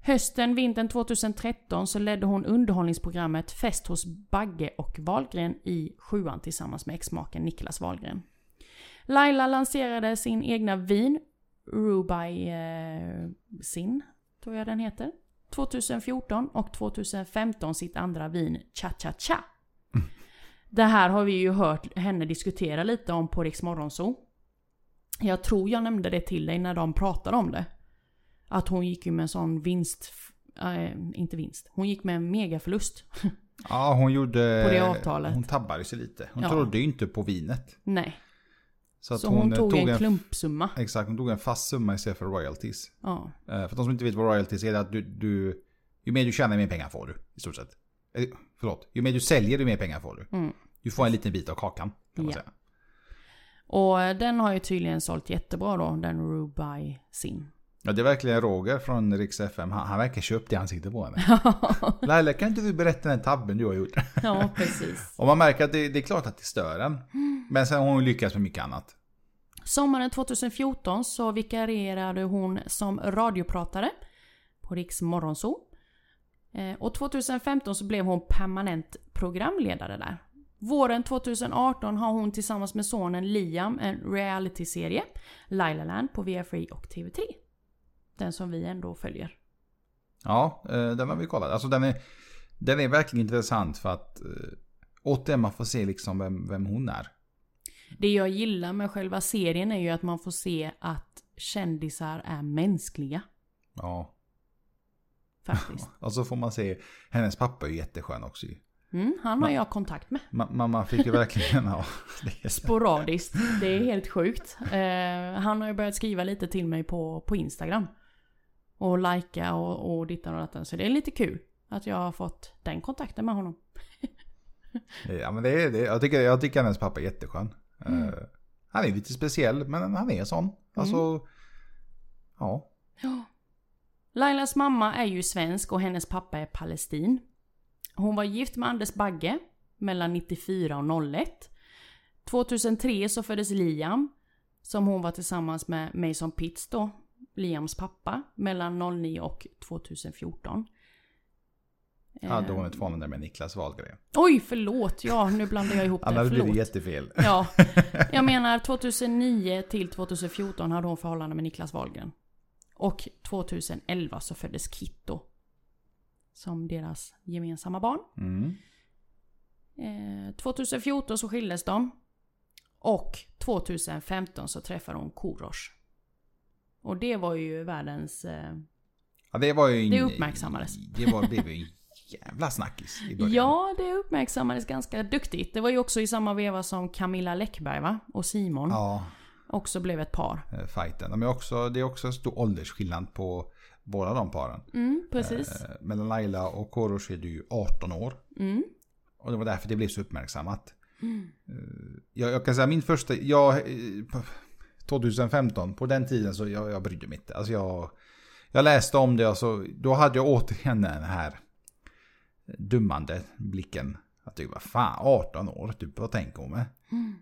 [SPEAKER 2] Hösten, vintern 2013 så ledde hon underhållningsprogrammet Fest hos Bagge och Wahlgren i sjuan tillsammans med exmaken Niklas Wahlgren. Laila lanserade sin egna vin, Rubai eh, Sin, tror jag den heter. 2014 och 2015 sitt andra vin, Cha Cha Cha. Det här har vi ju hört henne diskutera lite om på Riks Morgonzoo. Jag tror jag nämnde det till dig när de pratade om det. Att hon gick ju med en sån vinst... eh, inte vinst. Hon gick med en megaförlust.
[SPEAKER 1] Ja, hon gjorde...
[SPEAKER 2] På det avtalet.
[SPEAKER 1] Hon tabbade sig lite. Hon
[SPEAKER 2] Ja.
[SPEAKER 1] trodde ju inte på vinet.
[SPEAKER 2] Nej.
[SPEAKER 1] Så, att
[SPEAKER 2] Så hon,
[SPEAKER 1] eh,
[SPEAKER 2] tog, en,
[SPEAKER 1] f-
[SPEAKER 2] klumpsumma.
[SPEAKER 1] Exakt, hon tog en fast summa istället för royalties.
[SPEAKER 2] Ja.
[SPEAKER 1] Eh, För de som inte vet vad royalties är, det är att du, du, ju mer du tjänar, ju mer pengar får du. I stort sett. Eh, Förlåt, ju mer du säljer, ju mer pengar får du.
[SPEAKER 2] Mm.
[SPEAKER 1] Du får en liten bit av kakan. Kan man
[SPEAKER 2] Ja.
[SPEAKER 1] säga.
[SPEAKER 2] Och eh, den har ju tydligen sålt jättebra då, den Rubai Sin.
[SPEAKER 1] Ja, det är verkligen Roger från Rix FM. Han, han verkar köpt det han sitter på henne. Laila, kan inte du berätta den tabben du har gjort?
[SPEAKER 2] Ja, precis.
[SPEAKER 1] Och man märker att det, det är klart att det stör en. Men sen har hon lyckats med mycket annat.
[SPEAKER 2] Sommaren 2014 så vikarierade hon som radiopratare på Riks Morgonzoo. Eh, Och 2015 så blev hon permanent programledare där. Våren 2018 har hon tillsammans med sonen Liam en realityserie, Lailaland på Via Free och TV3. Den som vi ändå följer.
[SPEAKER 1] Ja, eh, den har vi kollat. Alltså den är, den är verkligen intressant för att eh, återigen man får se liksom vem, vem hon är.
[SPEAKER 2] Det jag gillar med själva serien är ju att man får se att kändisar är mänskliga.
[SPEAKER 1] Ja,
[SPEAKER 2] Faktiskt.
[SPEAKER 1] Och så får man se, hennes pappa är ju jätteskön också ju.
[SPEAKER 2] Mm, han har jag kontakt med.
[SPEAKER 1] Ma- mamma fick ju verkligen, ja. det är så-
[SPEAKER 2] Sporadiskt. Det är helt sjukt. Eh, han har ju börjat skriva lite till mig på, på Instagram. Och likea och, och dittan och dattan. Så det är lite kul att jag har fått den kontakten med honom.
[SPEAKER 1] Ja men det är det, jag tycker, jag tycker hennes pappa är jätteskön. Eh,
[SPEAKER 2] Mm.
[SPEAKER 1] han är lite speciell men han är sån. Alltså, ja.
[SPEAKER 2] Lailas mamma är ju svensk och hennes pappa är palestin. Hon var gift med Anders Bagge mellan 94 och 01. 2003 så föddes Liam som hon var tillsammans med Mason Pitts då, Liams pappa, mellan 09 och 2014.
[SPEAKER 1] Hade
[SPEAKER 2] Eh.
[SPEAKER 1] hon ett förhållande med Niklas Wahlgren.
[SPEAKER 2] Oj, förlåt! Ja, nu blandar jag ihop det.
[SPEAKER 1] Annars blir det
[SPEAKER 2] Eh, Förlåt.
[SPEAKER 1] jättefel.
[SPEAKER 2] Ja, jag menar 2009 till 2014 hade hon förhållande med Niklas Wahlgren. Och 2011 så föddes Kitto. Som deras gemensamma barn.
[SPEAKER 1] Mm.
[SPEAKER 2] Eh, 2014 så skildes de. Och 2015 så träffade hon Korosh. Och det var ju världens... Eh,
[SPEAKER 1] Ja, det var ju en,
[SPEAKER 2] Det uppmärksammades.
[SPEAKER 1] Det var, blev ju en jävla snackis i början.
[SPEAKER 2] Ja, det uppmärksammades ganska duktigt. Det var ju också i samma veva som Camilla Läckberg va? och Simon
[SPEAKER 1] Ja,
[SPEAKER 2] också blev ett par.
[SPEAKER 1] eh, fighten. De är också, det är också en stor åldersskillnad på båda de paren.
[SPEAKER 2] Mm, precis.
[SPEAKER 1] Eh, Mellan Laila och Korosh är du ju 18 år.
[SPEAKER 2] Mm.
[SPEAKER 1] Och det var därför det blev så uppmärksammat. Eh, Jag, jag kan säga min första, jag, eh, på- 2015, på den tiden så jag, jag brydde mig inte. Alltså jag, jag läste om det och så, då hade jag återigen den här dummande blicken. Att typ, vad fan, 18 år, typ, vad tänker hon med?
[SPEAKER 2] Mm.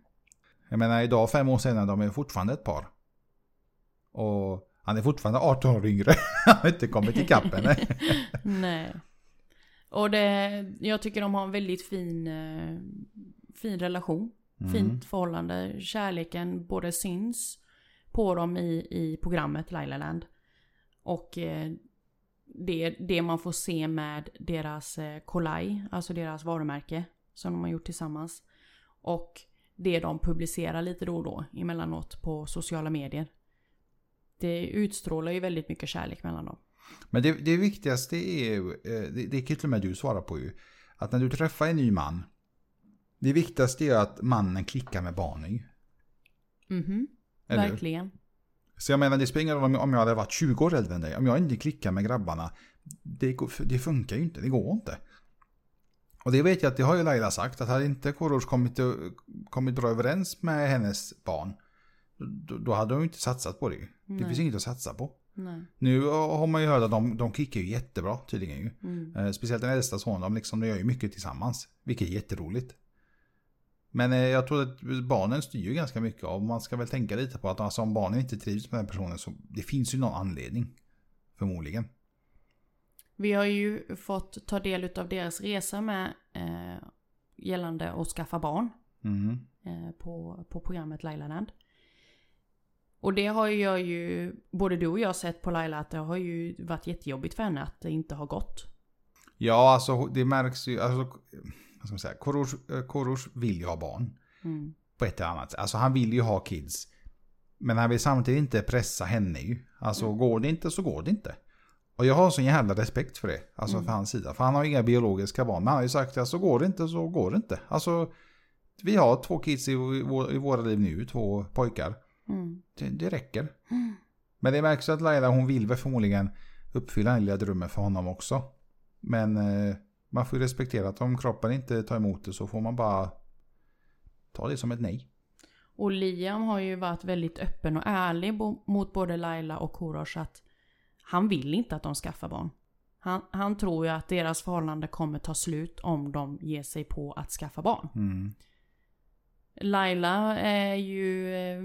[SPEAKER 1] Jag menar idag, fem år senare, de är fortfarande ett par. Och han är fortfarande 18 år yngre. Han har inte kommit ikapp henne.
[SPEAKER 2] Nej. Och det, jag tycker de har en väldigt fin, eh, fin relation. Fint förhållande. Kärleken både syns på dem i, i programmet Laila Land. Och eh, det, det man får se med deras eh, kollaj, alltså deras varumärke som de har gjort tillsammans. Och det de publicerar lite då och då emellanåt på sociala medier. Det utstrålar ju väldigt mycket kärlek mellan dem.
[SPEAKER 1] Men det, det viktigaste är ju, eh, det, det kan ju till och med du svara på ju, att när du träffar en ny man, det viktigaste är ju att mannen klickar med barnen ju.
[SPEAKER 2] Mhm,
[SPEAKER 1] Eller hur?
[SPEAKER 2] verkligen.
[SPEAKER 1] Så jag menar, det spelar ingen roll om jag- om jag hade varit 20 år äldre än dig, om jag inte klickar med grabbarna, det, går- det funkar ju inte, det går inte. Och det vet jag att det har ju Laila sagt, att hade inte Korosh kommit, kommit bra överens med hennes barn, då, då hade hon ju inte satsat på det. ju. Det
[SPEAKER 2] Nej.
[SPEAKER 1] finns inget att satsa på.
[SPEAKER 2] Nej.
[SPEAKER 1] Nu har man ju hört att de, de kickar ju jättebra tydligen ju.
[SPEAKER 2] Mm.
[SPEAKER 1] Eh, Speciellt den äldsta sonen, de, liksom, de gör ju mycket tillsammans. Vilket är jätteroligt. Men eh, jag tror att barnen styr ju ganska mycket och man ska väl tänka lite på att alltså, om barnen inte trivs med den personen så det finns ju någon anledning. Förmodligen.
[SPEAKER 2] Vi har ju fått ta del av deras resa med eh, gällande att skaffa barn
[SPEAKER 1] Mhm.
[SPEAKER 2] eh, på, på programmet Laila Land. Och det har ju jag ju, både du och jag sett på Laila, att det har ju varit jättejobbigt för henne att det inte har gått.
[SPEAKER 1] Ja, alltså det märks ju. Alltså, vad ska man säga? Korosh, eh, Korosh vill ju ha barn.
[SPEAKER 2] Mm.
[SPEAKER 1] På ett eller annat sätt. Alltså han vill ju ha kids. Men han vill samtidigt inte pressa henne ju. Alltså går det inte så går det inte. Och jag har sån jävla respekt för det. Alltså för hans sida. För han har ju inga biologiska barn. Men han har ju sagt att så går det inte så går det inte. Alltså vi har två kids i, vår, i våra liv nu. Två pojkar.
[SPEAKER 2] Mm.
[SPEAKER 1] Det, det räcker. Men det märks ju att Laila hon vill väl förmodligen uppfylla den lilla drömmen för honom också. Men eh, man får ju respektera att om kroppen inte tar emot det så får man bara ta det som ett nej.
[SPEAKER 2] Och Liam har ju varit väldigt öppen och ärlig bo- mot både Laila och Korosh att han vill inte att de skaffar barn. Han, han tror ju att deras förhållande kommer ta slut om de ger sig på att skaffa barn.
[SPEAKER 1] Mm.
[SPEAKER 2] Laila är ju... eh,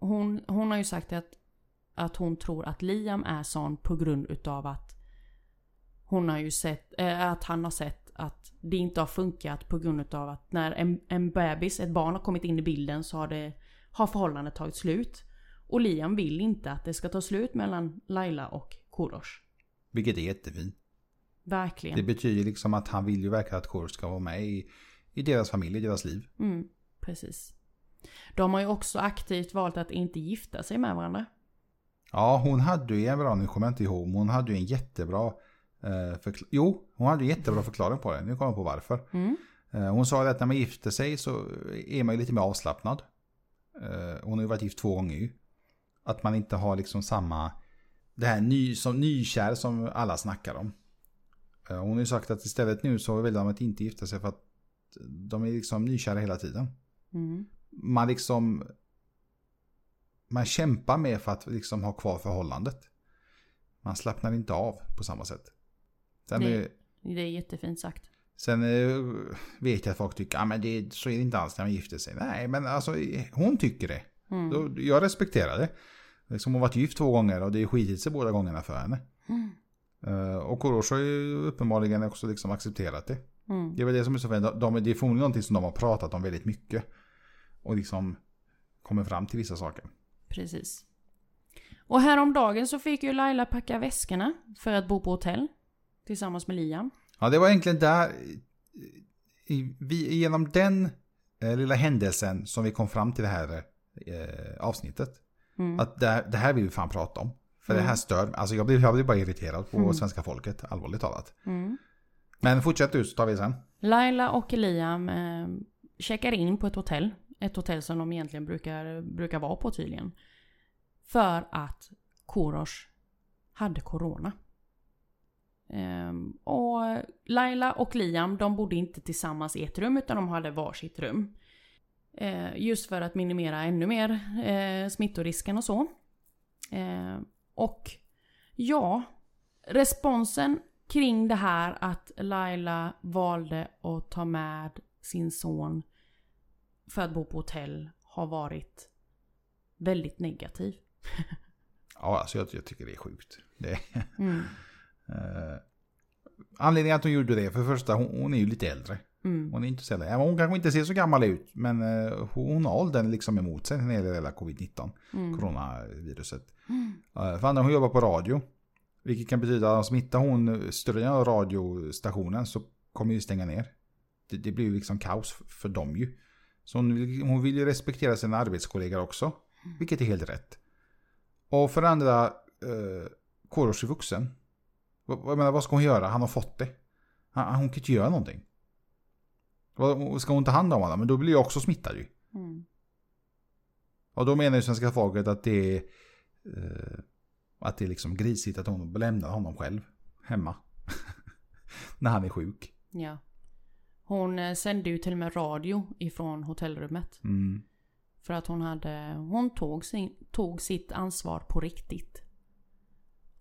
[SPEAKER 2] Hon, hon har ju sagt att, att hon tror att Liam är sån på grund utav att hon har ju sett, eh, att han har sett att det inte har funkat på grund utav att när en, en bebis, ett barn har kommit in i bilden så har, det, har förhållandet tagit slut. Och Liam vill inte att det ska ta slut mellan Laila och Korosh.
[SPEAKER 1] Vilket är jättefint.
[SPEAKER 2] Verkligen.
[SPEAKER 1] Det betyder liksom att han vill ju verkligen att Kors ska vara med i, i deras familj, i deras liv.
[SPEAKER 2] Mm, precis. De har ju också aktivt valt att inte gifta sig med varandra.
[SPEAKER 1] Ja, hon hade ju en bra, nu kommer jag inte ihåg, men hon hade ju en jättebra eh, förkla- Jo, hon hade en jättebra förklaring på det. Nu kommer jag på varför.
[SPEAKER 2] Mm.
[SPEAKER 1] Eh, hon sa ju att när man gifter sig så är man ju lite mer avslappnad. Eh, hon har ju varit gift två gånger ju. Att man inte har liksom samma... Det här ny, som, nykär som alla snackar om. Eh, hon har ju sagt att istället nu så väljer de att inte gifta sig för att de är liksom nykära hela tiden.
[SPEAKER 2] Mm.
[SPEAKER 1] man liksom man kämpar med för att liksom ha kvar förhållandet. Man slappnar inte av på samma sätt. Sen,
[SPEAKER 2] Nej.
[SPEAKER 1] är,
[SPEAKER 2] Det är jättefint sagt.
[SPEAKER 1] sen eh, vet jag att folk tycker att men det, så är det inte alls när man gifter sig. Nej, men alltså eh, hon tycker det.
[SPEAKER 2] Mm.
[SPEAKER 1] Då- Jag respekterar det. Liksom hon har varit gift två gånger och det är skitit sig båda gångerna för henne.
[SPEAKER 2] Mm.
[SPEAKER 1] Eh, Och Korosh har ju uppenbarligen också liksom accepterat det.
[SPEAKER 2] Mm.
[SPEAKER 1] Det är väl det som är så fint. De, de, det är förmodligen någonting som de har pratat om väldigt mycket. Och liksom kommer fram till vissa saker.
[SPEAKER 2] Precis. Och häromdagen så fick ju Laila packa väskorna för att bo på hotell. Tillsammans med Liam.
[SPEAKER 1] Ja, det var egentligen där... I, vi, genom den eh, lilla händelsen som vi kom fram till det här eh, avsnittet.
[SPEAKER 2] Mm.
[SPEAKER 1] Att det, här- det här vill vi fan prata om. För det här stör Alltså jag blir, jag blir bara irriterad på svenska folket, allvarligt talat.
[SPEAKER 2] Mm.
[SPEAKER 1] Men fortsätt du så tar vi sen.
[SPEAKER 2] Laila och Liam eh, checkar in på ett hotell. Ett hotell som de egentligen brukar, brukar vara på tydligen. För att Korosh hade corona. Ehm, och Laila och Liam de bodde inte tillsammans i ett rum utan de hade varsitt rum. Eh, just för att minimera ännu mer eh, smittorisken och så. Eh, och ja, responsen kring det här att Laila valde att ta med sin son för att bo på hotell har varit väldigt negativ.
[SPEAKER 1] Ja, alltså jag, jag tycker det är sjukt. Det,
[SPEAKER 2] Mm,
[SPEAKER 1] eh, anledningen att hon gjorde det, för det första, hon, hon är ju lite äldre.
[SPEAKER 2] mm,
[SPEAKER 1] Hon är inte så äldre. Ja, Hon kanske inte ser så gammal ut, men eh, hon har åldern liksom emot sig när det gäller det där covid-19,
[SPEAKER 2] mm,
[SPEAKER 1] coronaviruset.
[SPEAKER 2] mm,
[SPEAKER 1] Eh, För andra, hon jobbar på radio. Vilket kan betyda att smittar hon ströjan av radiostationen så kommer ju stänga ner. Det, det blir ju liksom kaos f- för dem ju. Så hon vill, hon vill ju respektera sina arbetskollegor också.
[SPEAKER 2] Mm.
[SPEAKER 1] Vilket är helt rätt. Och för det andra, eh, Korosh är vuxen. Vad- vad- Jag menar, vad ska hon göra? Han har fått det. Han, hon kan inte göra någonting. Vad- Ska hon ta hand om honom? Men då blir jag också smittad ju.
[SPEAKER 2] mm,
[SPEAKER 1] Och då menar ju svenska folket att det är, eh, att det är liksom grisigt att hon lämnar honom själv hemma. När han är sjuk.
[SPEAKER 2] ja. Hon eh, sände ju till och med radio ifrån hotellrummet.
[SPEAKER 1] Mm.
[SPEAKER 2] För att hon hade, hon tog, sin, tog sitt ansvar på riktigt.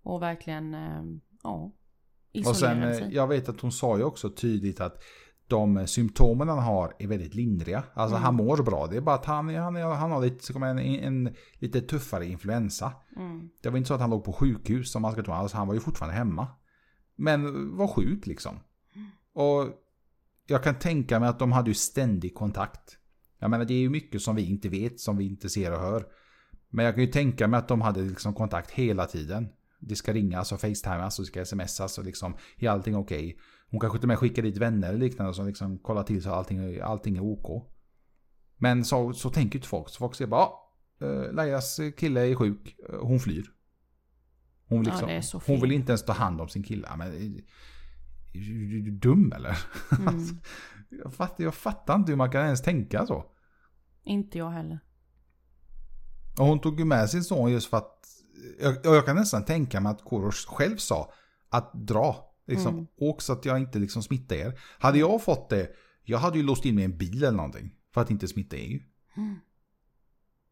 [SPEAKER 2] Och verkligen, eh, ja.
[SPEAKER 1] Och sen,
[SPEAKER 2] Isolerade
[SPEAKER 1] eh,
[SPEAKER 2] sig.
[SPEAKER 1] jag vet att hon sa ju också tydligt att de eh, symptomen han har är väldigt lindriga. Alltså han
[SPEAKER 2] Mm.
[SPEAKER 1] mår bra. Det är bara att han, han, han har lite, så kommer en, en lite tuffare influensa.
[SPEAKER 2] Mm,
[SPEAKER 1] Det var inte så att han låg på sjukhus som man ska tro. Alltså han var ju fortfarande hemma. Men var sjuk liksom.
[SPEAKER 2] Mm.
[SPEAKER 1] Och jag kan tänka mig att de hade ju ständig kontakt. Jag menar det är ju mycket som vi inte vet, som vi inte ser och hör. Men jag kan ju tänka mig att de hade liksom kontakt hela tiden. Det ska ringas och facetimas och det ska smsas och liksom är allting okej. Hon kanske till och med skickar dit vänner eller liknande som liksom kollar till så att allting, allting är OK. Men så, så tänker ju inte folk. Så folk säger bara "Ah, eh, Lailas kille är sjuk, Eh, hon flyr. Hon,
[SPEAKER 2] Ja,
[SPEAKER 1] liksom,
[SPEAKER 2] det är så
[SPEAKER 1] hon vill
[SPEAKER 2] fel.
[SPEAKER 1] inte ens ta hand om sin kille. Ja, Men, är du- är du dum eller?
[SPEAKER 2] mm.
[SPEAKER 1] Jag fattar, jag fattar inte hur man kan ens tänka så.
[SPEAKER 2] Inte jag heller.
[SPEAKER 1] Och hon tog ju med sin son just för att... Jag, jag kan nästan tänka mig att Korosh själv sa att dra. Liksom,
[SPEAKER 2] Mm.
[SPEAKER 1] Åk så att jag inte liksom smittar er. Hade jag fått det, jag hade ju låst in mig i en bil eller någonting. För att inte smitta er ju.
[SPEAKER 2] Mm.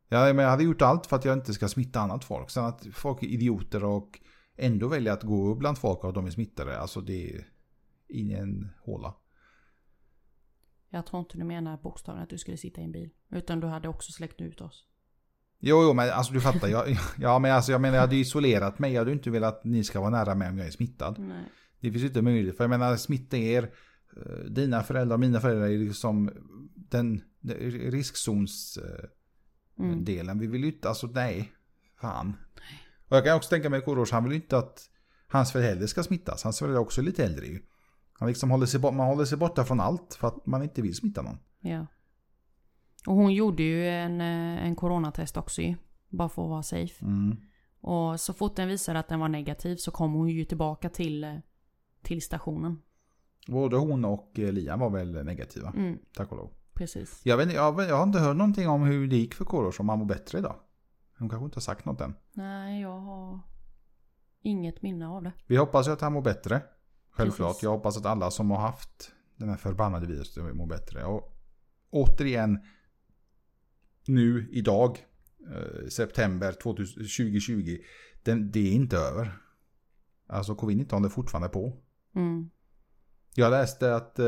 [SPEAKER 1] Ja, men jag hade gjort allt för att jag inte ska smitta annat folk. Sen att folk är idioter och ändå väljer att gå bland folk och att de är smittade. Alltså det är in i en håla.
[SPEAKER 2] Jag tror inte du menar bokstavligen att du skulle sitta i en bil. Utan du hade också släckt ut oss.
[SPEAKER 1] Jo, jo, men alltså du fattar. Jag, ja, men alltså, jag menar jag hade ju isolerat mig. Jag hade ju inte velat att ni ska vara nära mig om jag är smittad.
[SPEAKER 2] Nej.
[SPEAKER 1] Det finns ju inte möjlighet. För jag menar, smitta er. eh, Dina föräldrar och mina föräldrar är liksom den, den riskzonsdelen.
[SPEAKER 2] Mm.
[SPEAKER 1] Vi vill ju inte, alltså nej. Fan. Och jag kan också tänka mig Korosh, han vill ju inte att hans förälder ska smittas. Hans föräldrar är också lite äldre ju. Han liksom håller sig, bo- man håller sig borta från allt för att man inte vill smitta någon.
[SPEAKER 2] Ja. Och hon gjorde ju en, eh, en coronatest också ju. Bara för att vara safe.
[SPEAKER 1] Mm.
[SPEAKER 2] Och så fort den visade att den var negativ så kom hon ju tillbaka till, eh, till stationen.
[SPEAKER 1] Både hon och eh, Liam var väl negativa,
[SPEAKER 2] Mm,
[SPEAKER 1] tack och lov.
[SPEAKER 2] precis.
[SPEAKER 1] Jag, vet, inte- jag, vet- jag har inte hört någonting om hur det gick för Korosh, om han mår bättre idag. Hon kanske inte har sagt något än.
[SPEAKER 2] Nej, jag har inget minne av det.
[SPEAKER 1] Vi hoppas ju att han mår bättre. Självklart.
[SPEAKER 2] Precis.
[SPEAKER 1] Jag hoppas att alla som har haft den här förbannade viruset mår bättre. Och återigen, nu idag, eh, september 2000 2020, den, det är inte över. Alltså covid-19 är fortfarande på.
[SPEAKER 2] Mm.
[SPEAKER 1] Jag läste att eh,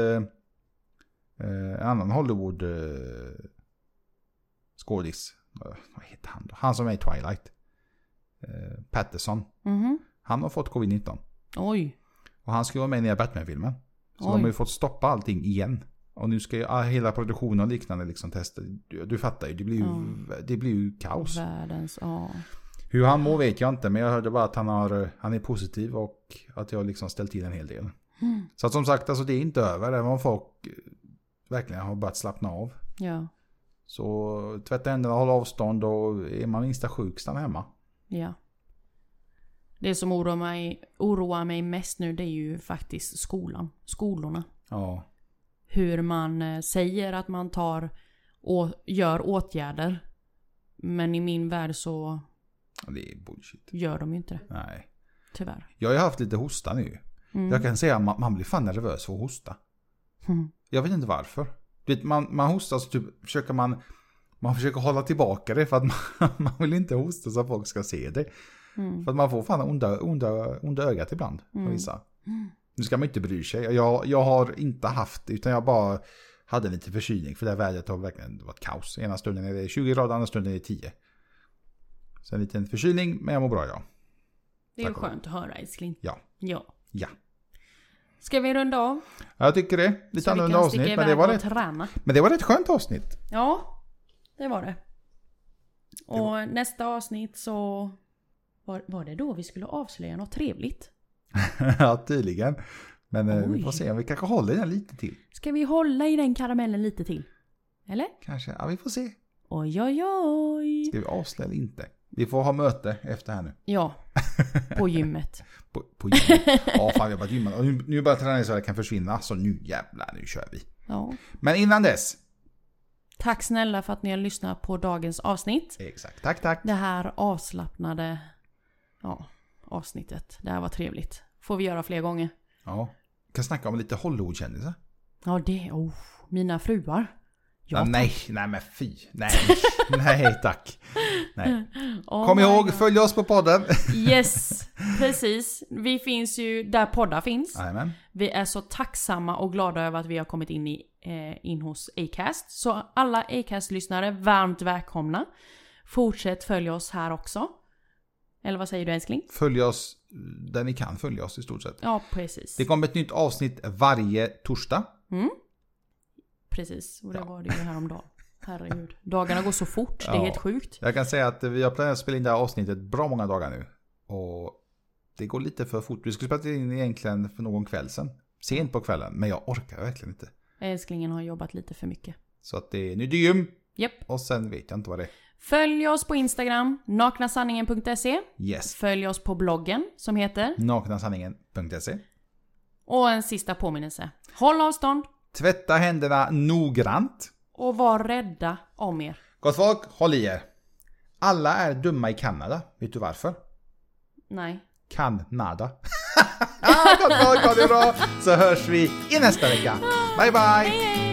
[SPEAKER 1] eh, en annan Hollywood eh, skådis, eh, vad heter han då? Han som är i Twilight, eh, Patterson,
[SPEAKER 2] Mhm.
[SPEAKER 1] han har fått covid-19.
[SPEAKER 2] Oj.
[SPEAKER 1] Och han ska ju vara med i nya Batman-filmen. Så
[SPEAKER 2] Oj.
[SPEAKER 1] de har ju fått stoppa allting igen. Och nu ska ju ah, hela produktionen och liknande liksom testa. Du, du fattar ju, det blir ju,
[SPEAKER 2] Ja.
[SPEAKER 1] det blir ju kaos.
[SPEAKER 2] Världens, ja.
[SPEAKER 1] Hur han mår vet jag inte, men jag hörde bara att han, har, eh, han är positiv och att jag har liksom ställt till en hel del.
[SPEAKER 2] Mm.
[SPEAKER 1] Så att som sagt, alltså det är inte över, även om folk eh, verkligen har börjat slappna av.
[SPEAKER 2] Ja.
[SPEAKER 1] Så tvätta händerna, håll avstånd och är man minsta sjuk, stanna hemma.
[SPEAKER 2] Ja. Det som oroar mig, oroar mig mest nu det är ju faktiskt skolan. Skolorna.
[SPEAKER 1] Ja.
[SPEAKER 2] Hur man eh, säger att man tar och gör åtgärder. Men i min värld så
[SPEAKER 1] Det är bullshit.
[SPEAKER 2] gör de ju inte det.
[SPEAKER 1] Nej.
[SPEAKER 2] Tyvärr.
[SPEAKER 1] Jag har ju haft lite hosta nu.
[SPEAKER 2] Mm.
[SPEAKER 1] Jag kan säga att man, man blir fan nervös för att hosta.
[SPEAKER 2] Mm.
[SPEAKER 1] Jag vet inte varför. Du vet, man, man hostar så typ försöker man... Man försöker hålla tillbaka det för att man, man vill inte hosta så att folk ska se det.
[SPEAKER 2] Mm.
[SPEAKER 1] För att man får fan onda, onda, onda ögat ibland. Mm.
[SPEAKER 2] Mm.
[SPEAKER 1] Vissa. Nu ska man inte bry sig. Jag, jag har inte haft, utan jag bara hade lite förkylning. För det här vädret har verkligen varit kaos. Ena stunden är det 20 grader, andra stunden är det 10. Så en liten förkylning, men jag mår bra idag.
[SPEAKER 2] Det är ju
[SPEAKER 1] Tack och lov.
[SPEAKER 2] skönt att höra älskling.
[SPEAKER 1] Ja.
[SPEAKER 2] Ja.
[SPEAKER 1] Ja.
[SPEAKER 2] Ska vi runda av?
[SPEAKER 1] Ja, Jag tycker det. Lite
[SPEAKER 2] vi
[SPEAKER 1] annorlunda
[SPEAKER 2] kan sticka
[SPEAKER 1] avsnitt, men
[SPEAKER 2] iväg
[SPEAKER 1] det, var
[SPEAKER 2] och
[SPEAKER 1] rätt,
[SPEAKER 2] träna.
[SPEAKER 1] men det var rätt skönt avsnitt.
[SPEAKER 2] Ja, det var det. Och nästa avsnitt så... Var, var det då vi skulle avslöja något trevligt?
[SPEAKER 1] ja, tydligen. Men eh, vi
[SPEAKER 2] Oj.
[SPEAKER 1] får se om vi kanske håller den lite till.
[SPEAKER 2] Ska vi hålla i den karamellen lite till? Eller?
[SPEAKER 1] Kanske, ja vi får se.
[SPEAKER 2] Oj, oj, oj.
[SPEAKER 1] Ska vi avslöja eller inte? Vi får ha möte efter här nu.
[SPEAKER 2] Ja, på gymmet.
[SPEAKER 1] På, på gymmet. Ja, fan vi har börjat gymma. Och Nu, nu börjar träningen så det kan försvinna. Så nu jävlar, nu kör vi.
[SPEAKER 2] Ja.
[SPEAKER 1] Men innan dess.
[SPEAKER 2] Tack snälla för att ni har lyssnat på dagens avsnitt.
[SPEAKER 1] Exakt, tack tack.
[SPEAKER 2] Det här avslappnade ja, avsnittet. Det här var trevligt. Får vi göra fler gånger.
[SPEAKER 1] Ja. Kan snacka om lite Hollywoodkändisar.
[SPEAKER 2] Ja, det... Oh, mina fruar. Ja,
[SPEAKER 1] Ja, nej, nej men fy. Nej, nej tack. Nej.
[SPEAKER 2] Oh
[SPEAKER 1] Kom
[SPEAKER 2] my
[SPEAKER 1] ihåg,
[SPEAKER 2] God.
[SPEAKER 1] följ oss på podden.
[SPEAKER 2] Yes, precis. Vi finns ju där poddar finns.
[SPEAKER 1] Jajamän.
[SPEAKER 2] Vi är så tacksamma och glada över att vi har kommit in, i, eh, in hos Acast. Så alla Acast-lyssnare, varmt välkomna. Fortsätt följa oss här också. Eller vad säger du älskling?
[SPEAKER 1] Följ oss där ni kan följa oss i stort sett.
[SPEAKER 2] Ja, precis.
[SPEAKER 1] Det kommer ett nytt avsnitt varje torsdag.
[SPEAKER 2] Precis, och det var det ju häromdagen. Herregud. Dagarna går så fort, det är
[SPEAKER 1] Ja.
[SPEAKER 2] helt sjukt.
[SPEAKER 1] Jag kan säga att vi har planerat att spela in det här avsnittet bra många dagar nu. Och det går lite för fort. Vi skulle spela in egentligen för någon kväll sen. Sent på kvällen, men jag orkar verkligen inte.
[SPEAKER 2] Älsklingen har jobbat lite för mycket.
[SPEAKER 1] Så att det är nytt gym
[SPEAKER 2] Japp.
[SPEAKER 1] och sen vet jag inte vad det är.
[SPEAKER 2] Följ oss på Instagram, naknasanningen.se.
[SPEAKER 1] Yes.
[SPEAKER 2] Följ oss på bloggen som heter
[SPEAKER 1] Naknasanningen.se
[SPEAKER 2] Och en sista påminnelse. Håll avstånd
[SPEAKER 1] Tvätta händerna noggrant.
[SPEAKER 2] och var rädda om er.
[SPEAKER 1] Gott folk, håll i er. Alla är dumma i Kanada. Vet du varför?
[SPEAKER 2] Nej.
[SPEAKER 1] Kanada. ah, gott folk, ha det bra! Så hörs vi i nästa vecka. Bye bye!
[SPEAKER 2] Hej hej!